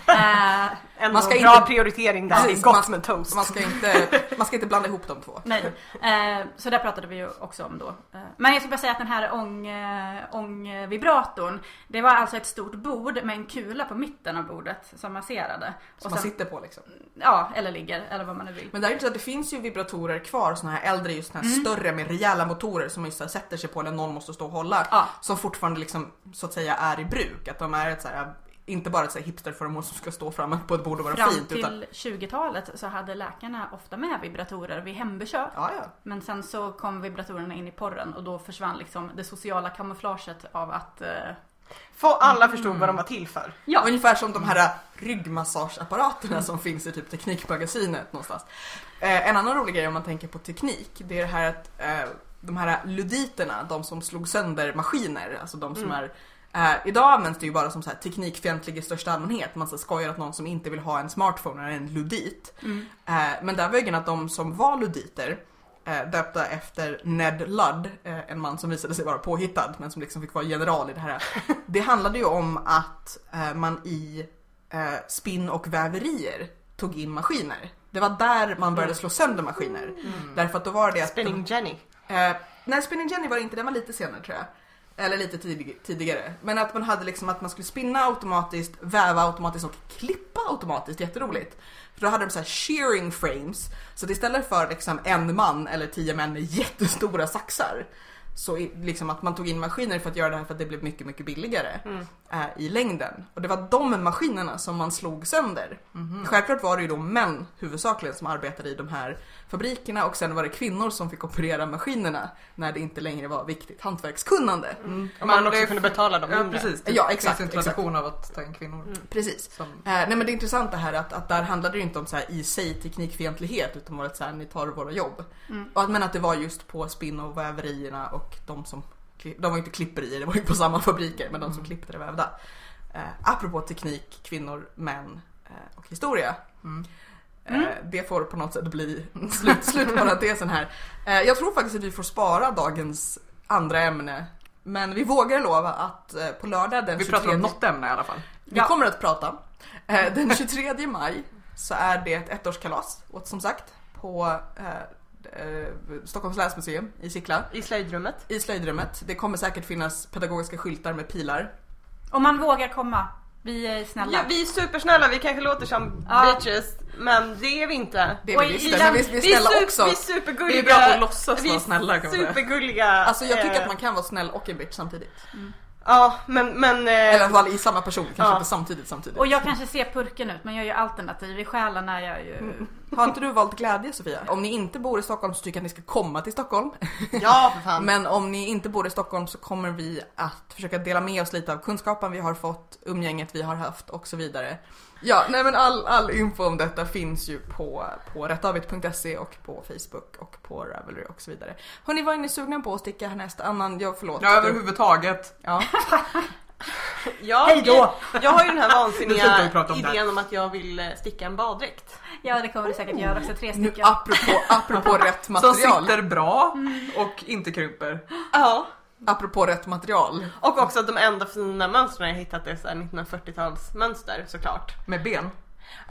S2: Eh,
S4: Ändå
S1: Man ska
S4: bra
S1: inte-
S4: prioritering där.
S1: Precis,
S4: Gott
S1: man-
S4: med toast.
S1: Man ska, inte, man ska inte blanda ihop de två.
S2: Nej, eh, så där pratade vi ju också om då. Eh, men jag ska bara säga att den här ång, eh, ångvibratorn, det var alltså ett stort bord med en kula på mitten av bordet som masserade.
S1: Som
S2: Och
S1: man
S2: sen-
S1: sitter på liksom.
S2: Ja, eller ligger, eller vad man nu vill.
S1: Men det är inte så att det finns ju vibratorer kvar, såna här äldre, just såna här större med rejäla motorer som man just så här sätter sig på när någon måste stå och hålla.
S2: Ja.
S1: Som fortfarande liksom så att säga är i bruk. Att de är ett så här, inte bara ett så här hipsterföremål som ska stå framme på ett bord och vara
S2: Fram
S1: fint. Utan,
S2: till 20-talet så hade läkarna ofta med vibratorer vid hembesök.
S1: ja, ja.
S2: Men sen så kom vibratorerna in i porren och då försvann liksom det sociala kamouflaget av att... Eh,
S4: Få alla förstod vad
S1: Mm.
S4: de var till för.
S2: ja,
S1: Ungefär som de här ryggmassageapparaterna som finns i typ Teknikmagasinet någonstans. Eh, en annan rolig grej om man tänker på teknik, det är det här att eh, de här luditerna, de som slog sönder maskiner, alltså de som är Eh, idag används det ju bara som så här teknikfientlig i största allmänhet. Man så skojar att någon som inte vill ha en smartphone är en ludit.
S2: Mm.
S1: Eh, men där var ju grejen att de som var luditer eh, döpta efter Ned Ludd, eh, en man som visade sig vara påhittad men som liksom fick vara general i det här. Det handlade ju om att eh, man i eh, spinn och väverier tog in maskiner. Det var där man började slå sönder maskiner.
S4: Mm.
S1: Därför att då var det att...
S4: Spinning Jenny.
S1: Eh, nej, Spinning Jenny var det inte, den var lite senare tror jag. Eller lite tidig, tidigare. Men att man hade liksom att man skulle spinna automatiskt, väva automatiskt och klippa automatiskt. Jätteroligt. För då hade de så här shearing frames. Så att istället för liksom en man eller tio män med jättestora saxar. Så i- liksom att man tog in maskiner för att göra det här för att det blev mycket, mycket billigare
S4: Mm.
S1: eh, i längden. Och det var de maskinerna som man slog sönder. Självklart var det ju då män huvudsakligen som arbetade i de här fabrikerna och sen var det kvinnor som fick operera maskinerna när det inte längre var viktigt hantverkskunnande.
S4: Om
S3: Men
S4: man också
S3: det-
S4: kunde betala dem
S3: Ja
S4: mindre.
S3: precis,
S1: Ja,
S3: finns
S1: exakt, Mm.
S3: en tradition av att ta in kvinnor.
S1: Precis.
S3: Som,
S1: Eh, nej men det är intressant det här att, att där handlade det ju inte om så här i sig teknikfientlighet utan var det så här ni tar våra jobb.
S2: Mm.
S1: Och att, men att det var just på spinn och väverierna och de som, kli- de var ju inte klipperier, det var ju på samma fabriker men de
S3: Mm.
S1: som klippte det vävda. Eh, apropå teknik, kvinnor, män eh, och historia.
S3: Mm.
S1: Eh, det får på något sätt bli [LAUGHS] slut, slutparentesen här. Eh, jag tror faktiskt att vi får spara dagens andra ämne. Men vi vågar lova att eh, på lördag den
S3: vi pratar
S1: 23
S3: om något ämne i alla fall.
S1: vi kommer att prata.
S2: [LAUGHS]
S1: Eh, Den 23 maj så är det ett ettårskalas, åt, som sagt, på eh, eh, Stockholms länsmuseum i Sickla.
S4: I slöjdrummet.
S1: I slöjdrummet. Det kommer säkert finnas pedagogiska skyltar med pilar.
S2: om man vågar komma. Vi är snälla.
S4: Ja, vi är supersnälla, vi kanske låter som
S2: Ja.
S4: bitches, men det är vi inte.
S1: Det är vi
S2: Oj,
S1: visst,
S2: i
S1: men
S2: den-
S1: vi vi är snälla
S4: su-
S1: också.
S4: Vi är supergulliga.
S3: Det är bra att låtsas
S4: Vi är
S3: vara snälla kan man säga.
S4: supergulliga.
S1: Alltså jag tycker
S4: eh,
S1: att man kan vara snäll och en bitch samtidigt.
S2: Eh.
S4: Ja, men... men eh,
S1: Eller i alla fall i samma person, kanske
S4: Ja.
S1: inte samtidigt samtidigt.
S2: Och jag kanske ser purken ut men jag är ju alternativ i själen när jag ju...
S1: Har inte du valt glädje Sofia? Om ni inte bor i Stockholm så tycker jag att ni ska komma till Stockholm.
S4: ja, för fan.
S3: Mm.
S1: Men om ni inte bor i Stockholm så kommer vi att försöka dela med oss lite av kunskapen vi har fått, umgänget vi har haft och så vidare. Ja, nej men all, all info om detta finns ju på, på rättavigt.se och på Facebook och på Ravelry och så vidare. Hörni, vad är ni sugna på att sticka härnäst? Annan, jag förlåt.
S3: Ja, överhuvudtaget.
S1: Ja.
S4: jag, jag har ju [LAUGHS] den här
S3: Nu slutar vi
S4: vansinniga
S3: prata om det här.
S4: idén om att jag vill eh, sticka en baddräkt.
S2: Ja det kommer du säkert göra också, tre
S1: Nu
S2: stycken.
S1: apropå,
S2: [LAUGHS]
S1: apropå rätt
S3: Som
S1: material.
S3: sitter bra och inte krymper.
S4: Ja.
S1: Apropå rätt
S2: Mm.
S1: material. Mm.
S4: Och också att de enda fina mönstren jag hittat är så här 1940-talsmönster såklart.
S3: Med ben.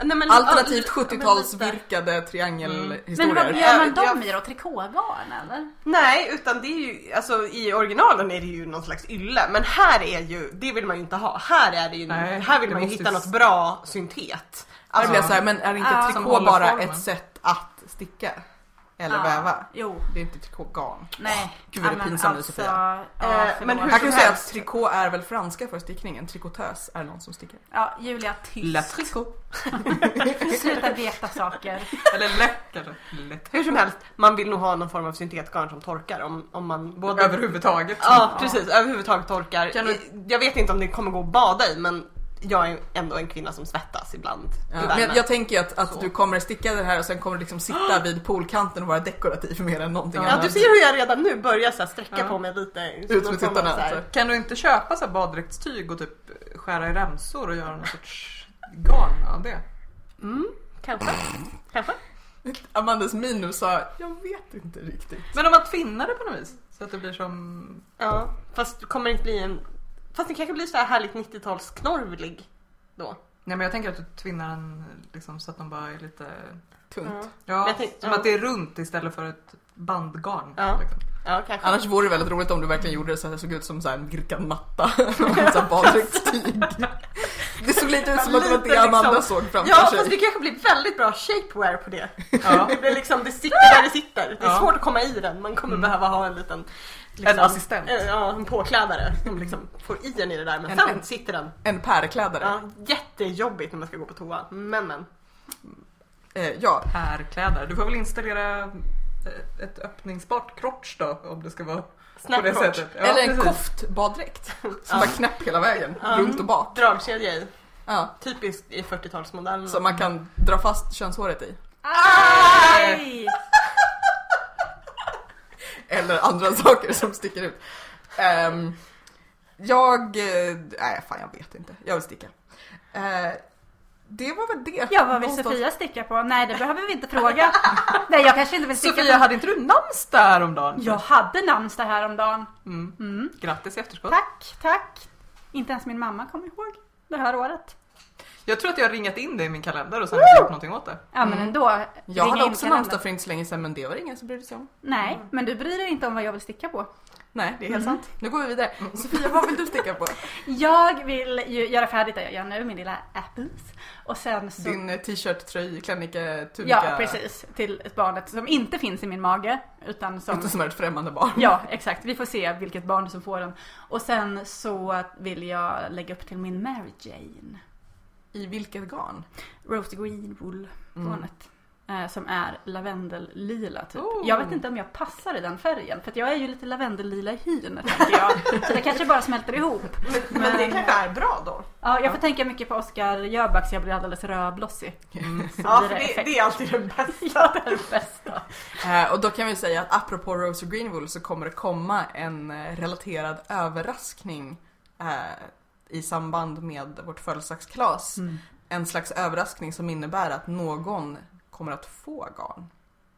S4: Nej, men,
S1: Alternativt
S4: ja, men
S1: 70-tals
S4: lite.
S1: virkade
S2: Mm. Men vad
S1: triangelhistorier.
S2: gör man
S4: Ja,
S2: dem
S4: jag-
S2: i då? Trikågarn eller?
S4: Nej, utan det är ju, alltså i originalen är det ju någon slags ylle, men här är ju, det vill man ju inte ha. Här är det ju,
S3: Nej,
S4: här vill
S3: det
S4: man ju
S3: måste
S4: hitta
S3: ju-
S4: något bra syntet.
S1: Alltså,
S3: Ja.
S1: så här, men är inte
S2: Ja.
S1: trikå
S3: Som håller
S1: bara
S3: formen.
S1: ett sätt att sticka? Eller
S2: Ja.
S1: väva?
S2: Jo.
S1: Det är inte trikågarn.
S2: Nej.
S1: Gud, vad det är
S2: men
S1: pinsamt nu,
S2: alltså,
S1: Sofia.
S2: ja,
S4: Eh, men
S2: förlåt.
S1: Här
S4: hur-
S1: kan
S4: som
S1: du säga att
S4: helst.
S1: trikå är väl franska för stickningen? Trikotös är någon som stickar.
S2: Ja, Julia tyst.
S3: La tricot.
S2: [LAUGHS] Sluta veta saker.
S3: Eller lätt kanske. Lätt.
S4: Hur som helst, man vill nog ha någon form av syntetgarn som torkar om, om
S1: [LAUGHS]
S4: man både...
S3: Överhuvudtaget.
S4: Ja, precis. Överhuvudtaget torkar.
S1: Kan
S4: Jag vet inte om det kommer gå att bada i, men jag är ändå en kvinna som svettas ibland. i
S1: Ja.
S4: värmen.
S1: Men jag tänker ju att, att du kommer sticka det här och sen kommer du liksom [GASPS] sitta vid poolkanten och vara dekorativ mer än någonting
S3: Ja,
S4: Ja,
S1: annat.
S4: du ser hur jag redan nu börjar så här sträcka
S3: Ja.
S4: på mig lite.
S1: med
S4: Som någon form av
S1: tuttarna,
S4: så här-
S1: alltså.
S3: Kan du inte köpa så här baddräktstyg och typ skära i remsor och göra någon sorts garn av det?
S4: Mm. Kanske. Kanske.
S1: Amandas minus sa jag vet inte riktigt.
S3: Men om man tvinnar det på något vis? Så att det blir som...
S4: Ja, fast det kommer inte bli en... Fast det kanske blir så här härligt 90-talsknorvlig då.
S3: Nej men jag tänker att du tvinnar den liksom så att de bara är lite...
S1: Tunt.
S3: Ja,
S4: Jag tänk-
S3: som
S4: ja.
S3: att det är runt istället för ett bandgarn.
S4: Ja. [LAUGHS]
S3: Liksom.
S4: Ja, kanske.
S1: Annars vore det väldigt roligt om du verkligen gjorde det så att det såg ut som så här en virkad matta. [LAUGHS] Med så här baddräktstyg. Det såg lite ut som att det var det
S4: Lite
S1: Amanda
S4: liksom-
S1: såg framför
S4: Ja,
S1: sig.
S4: fast det kanske blir väldigt bra shapewear på det.
S3: Ja.
S4: [LAUGHS] Det blir liksom, det sitter där det sitter. Det är
S3: Ja.
S4: svårt att komma i den. Man kommer behöva ha en liten...
S3: En assistent.
S4: eh, Ja, en påklädare som liksom får i den i det där. Men
S1: En-
S4: sen
S1: en-
S4: sitter den.
S1: En pärklädare.
S4: Ja, jättejobbigt när man ska gå på toa. Men men.
S1: Eh, ja.
S3: Pärkläder. Du får väl installera eh, ett öppningsbart crotch då om det ska vara på det
S4: Snapchat.
S3: sättet. Ja,
S1: Eller en
S3: precis.
S1: koftbaddräkt. [LAUGHS] Som var knäpp hela vägen,
S4: Ja.
S1: runt och bak.
S4: Dragkedja i.
S1: Ja.
S4: Typiskt i 40-talsmodellen.
S1: Som man kan dra fast könshåret i.
S2: Aj!
S1: Eller andra [LAUGHS] saker som sticker ut. Ehm, jag... eh, Nej, fan jag vet inte. Jag vill sticka. Eh, det var väl det.
S2: Ja, vad vill
S1: Någonstans-
S2: Sofia sticka på? Nej, det behöver vi inte fråga. Nej, jag kanske inte vill sticka
S3: Sofia,
S2: på...
S3: hade inte du namnsdag häromdagen?
S2: Jag hade namnsdag häromdagen.
S3: Mm.
S2: Mm.
S3: Grattis i efterskott.
S2: Tack, tack. Inte ens min mamma kommer ihåg det här året.
S3: Jag tror att jag har ringat in det i min kalender och sen inte gjort någonting åt det.
S2: Ja, men ändå.
S1: Mm. Jag
S2: Ringa
S1: hade
S2: in
S1: också
S2: kalendern.
S1: namnsdag för inte så länge sedan men det var det ingen som brydde sig om.
S2: Nej, men du bryr dig inte om vad jag vill sticka på.
S1: Nej, det är
S2: Mhm.
S1: helt sant. Nu går vi vidare. Sofia, vad vill du sticka på?
S2: Jag vill ju göra färdigt det jag gör nu, min lilla apples. Och sen så...
S1: Din eh, t-shirt, tröj, klänning, tunika.
S2: ja, precis. Till ett barnet som inte finns i min mage. Utan som...
S1: Inte som är ett främmande barn.
S2: Ja, exakt. Vi får se vilket barn som får den. Och sen så vill jag lägga upp till min Mary Jane.
S1: I vilket garn?
S2: Rose Green Wool
S4: Mm.
S2: garnet. Eh, Som är lavendellila typ.
S3: Oh.
S2: Jag vet inte om jag passar i den färgen. För att jag är ju lite lavendellila i hyn tänker
S4: [LAUGHS]
S2: jag. Så det kanske bara smälter ihop.
S4: Men, men det kanske är bra då.
S2: Ja, jag får tänka mycket på Oscar Jöback så jag blir alldeles
S4: [LAUGHS]
S2: rödblossig.
S1: Mm.
S2: Så
S4: Ja,
S2: blir
S4: för det,
S2: effekt.
S4: det är alltid det bästa.
S2: Ja, det är det bästa.
S1: Eh, och då kan vi säga att apropå Rose Greenwood så kommer det komma en eh, relaterad överraskning eh, i samband med vårt födelsedagskalas.
S4: Mm.
S1: En slags överraskning som innebär att någon kommer att få garn.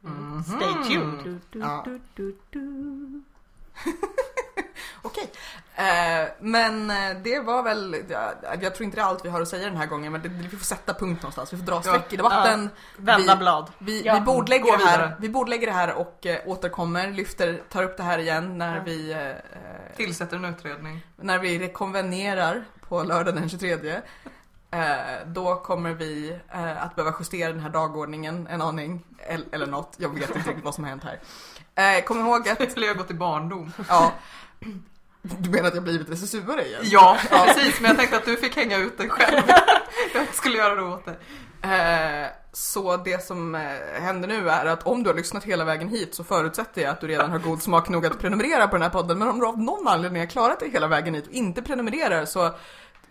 S4: Mhm. Stay tuned.
S2: Mm. Du, du,
S1: Ja.
S2: du, du, du.
S1: Okej, Eh, men eh, det var väl, ja, jag tror inte det är allt vi har att säga den här gången men det, vi får sätta punkt någonstans. Vi får dra streck i debatten.
S4: Vända
S1: vi,
S4: blad.
S1: vi,
S2: Ja.
S1: vi, bordlägger
S3: Gå
S1: det här,
S3: vidare.
S1: vi bordlägger det här och eh, återkommer, lyfter, tar upp det här igen när
S4: Ja.
S1: vi eh, eh,
S3: Tillsätter en utredning.
S1: när vi rekonvenerar på lördagen den 23 eh, då kommer vi eh, att behöva justera den här dagordningen en aning. Eller, eller något, jag vet inte riktigt vad som har hänt här. Eh, kom ihåg att,
S3: Eller jag har gått i barndom.
S1: ja. Du menar att jag blivit recensuare igen?
S3: Ja, precis. Men jag tänkte att du fick hänga ut den själv. [LAUGHS] Jag skulle göra det åt dig.
S1: Eh, så det som eh, händer nu är att om du har lyssnat hela vägen hit så förutsätter jag att du redan har god smak nog att prenumerera på den här podden. Men om du av någon anledning har klarat dig hela vägen hit och inte prenumererar så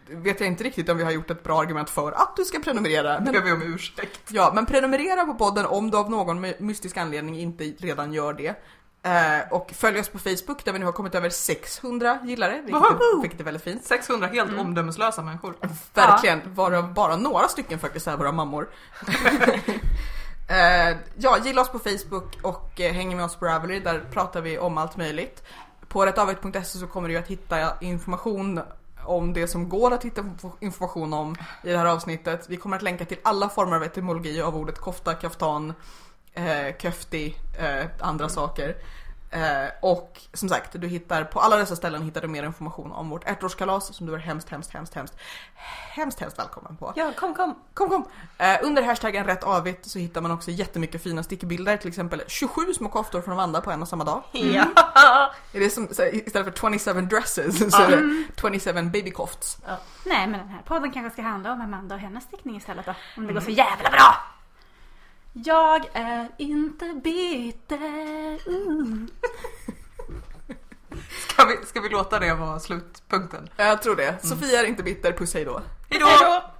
S1: vet jag inte riktigt om vi har gjort ett bra argument för att du ska prenumerera.
S3: Nu
S1: Men
S3: ber vi om ursäkt.
S1: Ja, men prenumerera på podden om du av någon my- mystisk anledning inte redan gör det. Eh, och följ oss på Facebook där vi nu har kommit över 600 gillare, vilket, är,
S3: Woho!
S1: vilket är väldigt fint.
S3: 600 helt omdömeslösa människor.
S1: Verkligen, varav bara några stycken faktiskt är våra mammor. eh, ja, gilla oss på Facebook och eh, häng med oss på Ravelry, där pratar vi om allt möjligt. På rättavigt.se så kommer du ju att hitta information om det som går att hitta information om i det här avsnittet. Vi kommer att länka till alla former av etymologi av ordet kofta, kaftan, eh, köfti, eh, andra saker. Eh, och som sagt, du hittar på alla dessa ställen hittar du mer information om vårt ettårskalas som du är hemskt, hemskt, hemskt, hemskt, hemskt, hemskt välkommen på.
S4: Ja, kom, kom.
S1: Kom, kom! Eh, under hashtaggen rätt avigt så hittar man också jättemycket fina stickbilder, till exempel 27 små koftor från Vanda på en och samma dag.
S4: Ja.
S1: Är det som, så här, istället för 27 dresses så är det 27 babykofts.
S2: Nej men den här podden kanske ska handla om Amanda och hennes stickning istället då. Om det går så
S4: Mm.
S2: jävla bra! Jag är inte bitter. Mm.
S3: Ska vi, ska vi låta det vara slutpunkten?
S1: Jag tror det. Sofia är inte bitter, puss hej då.
S3: Hejdå!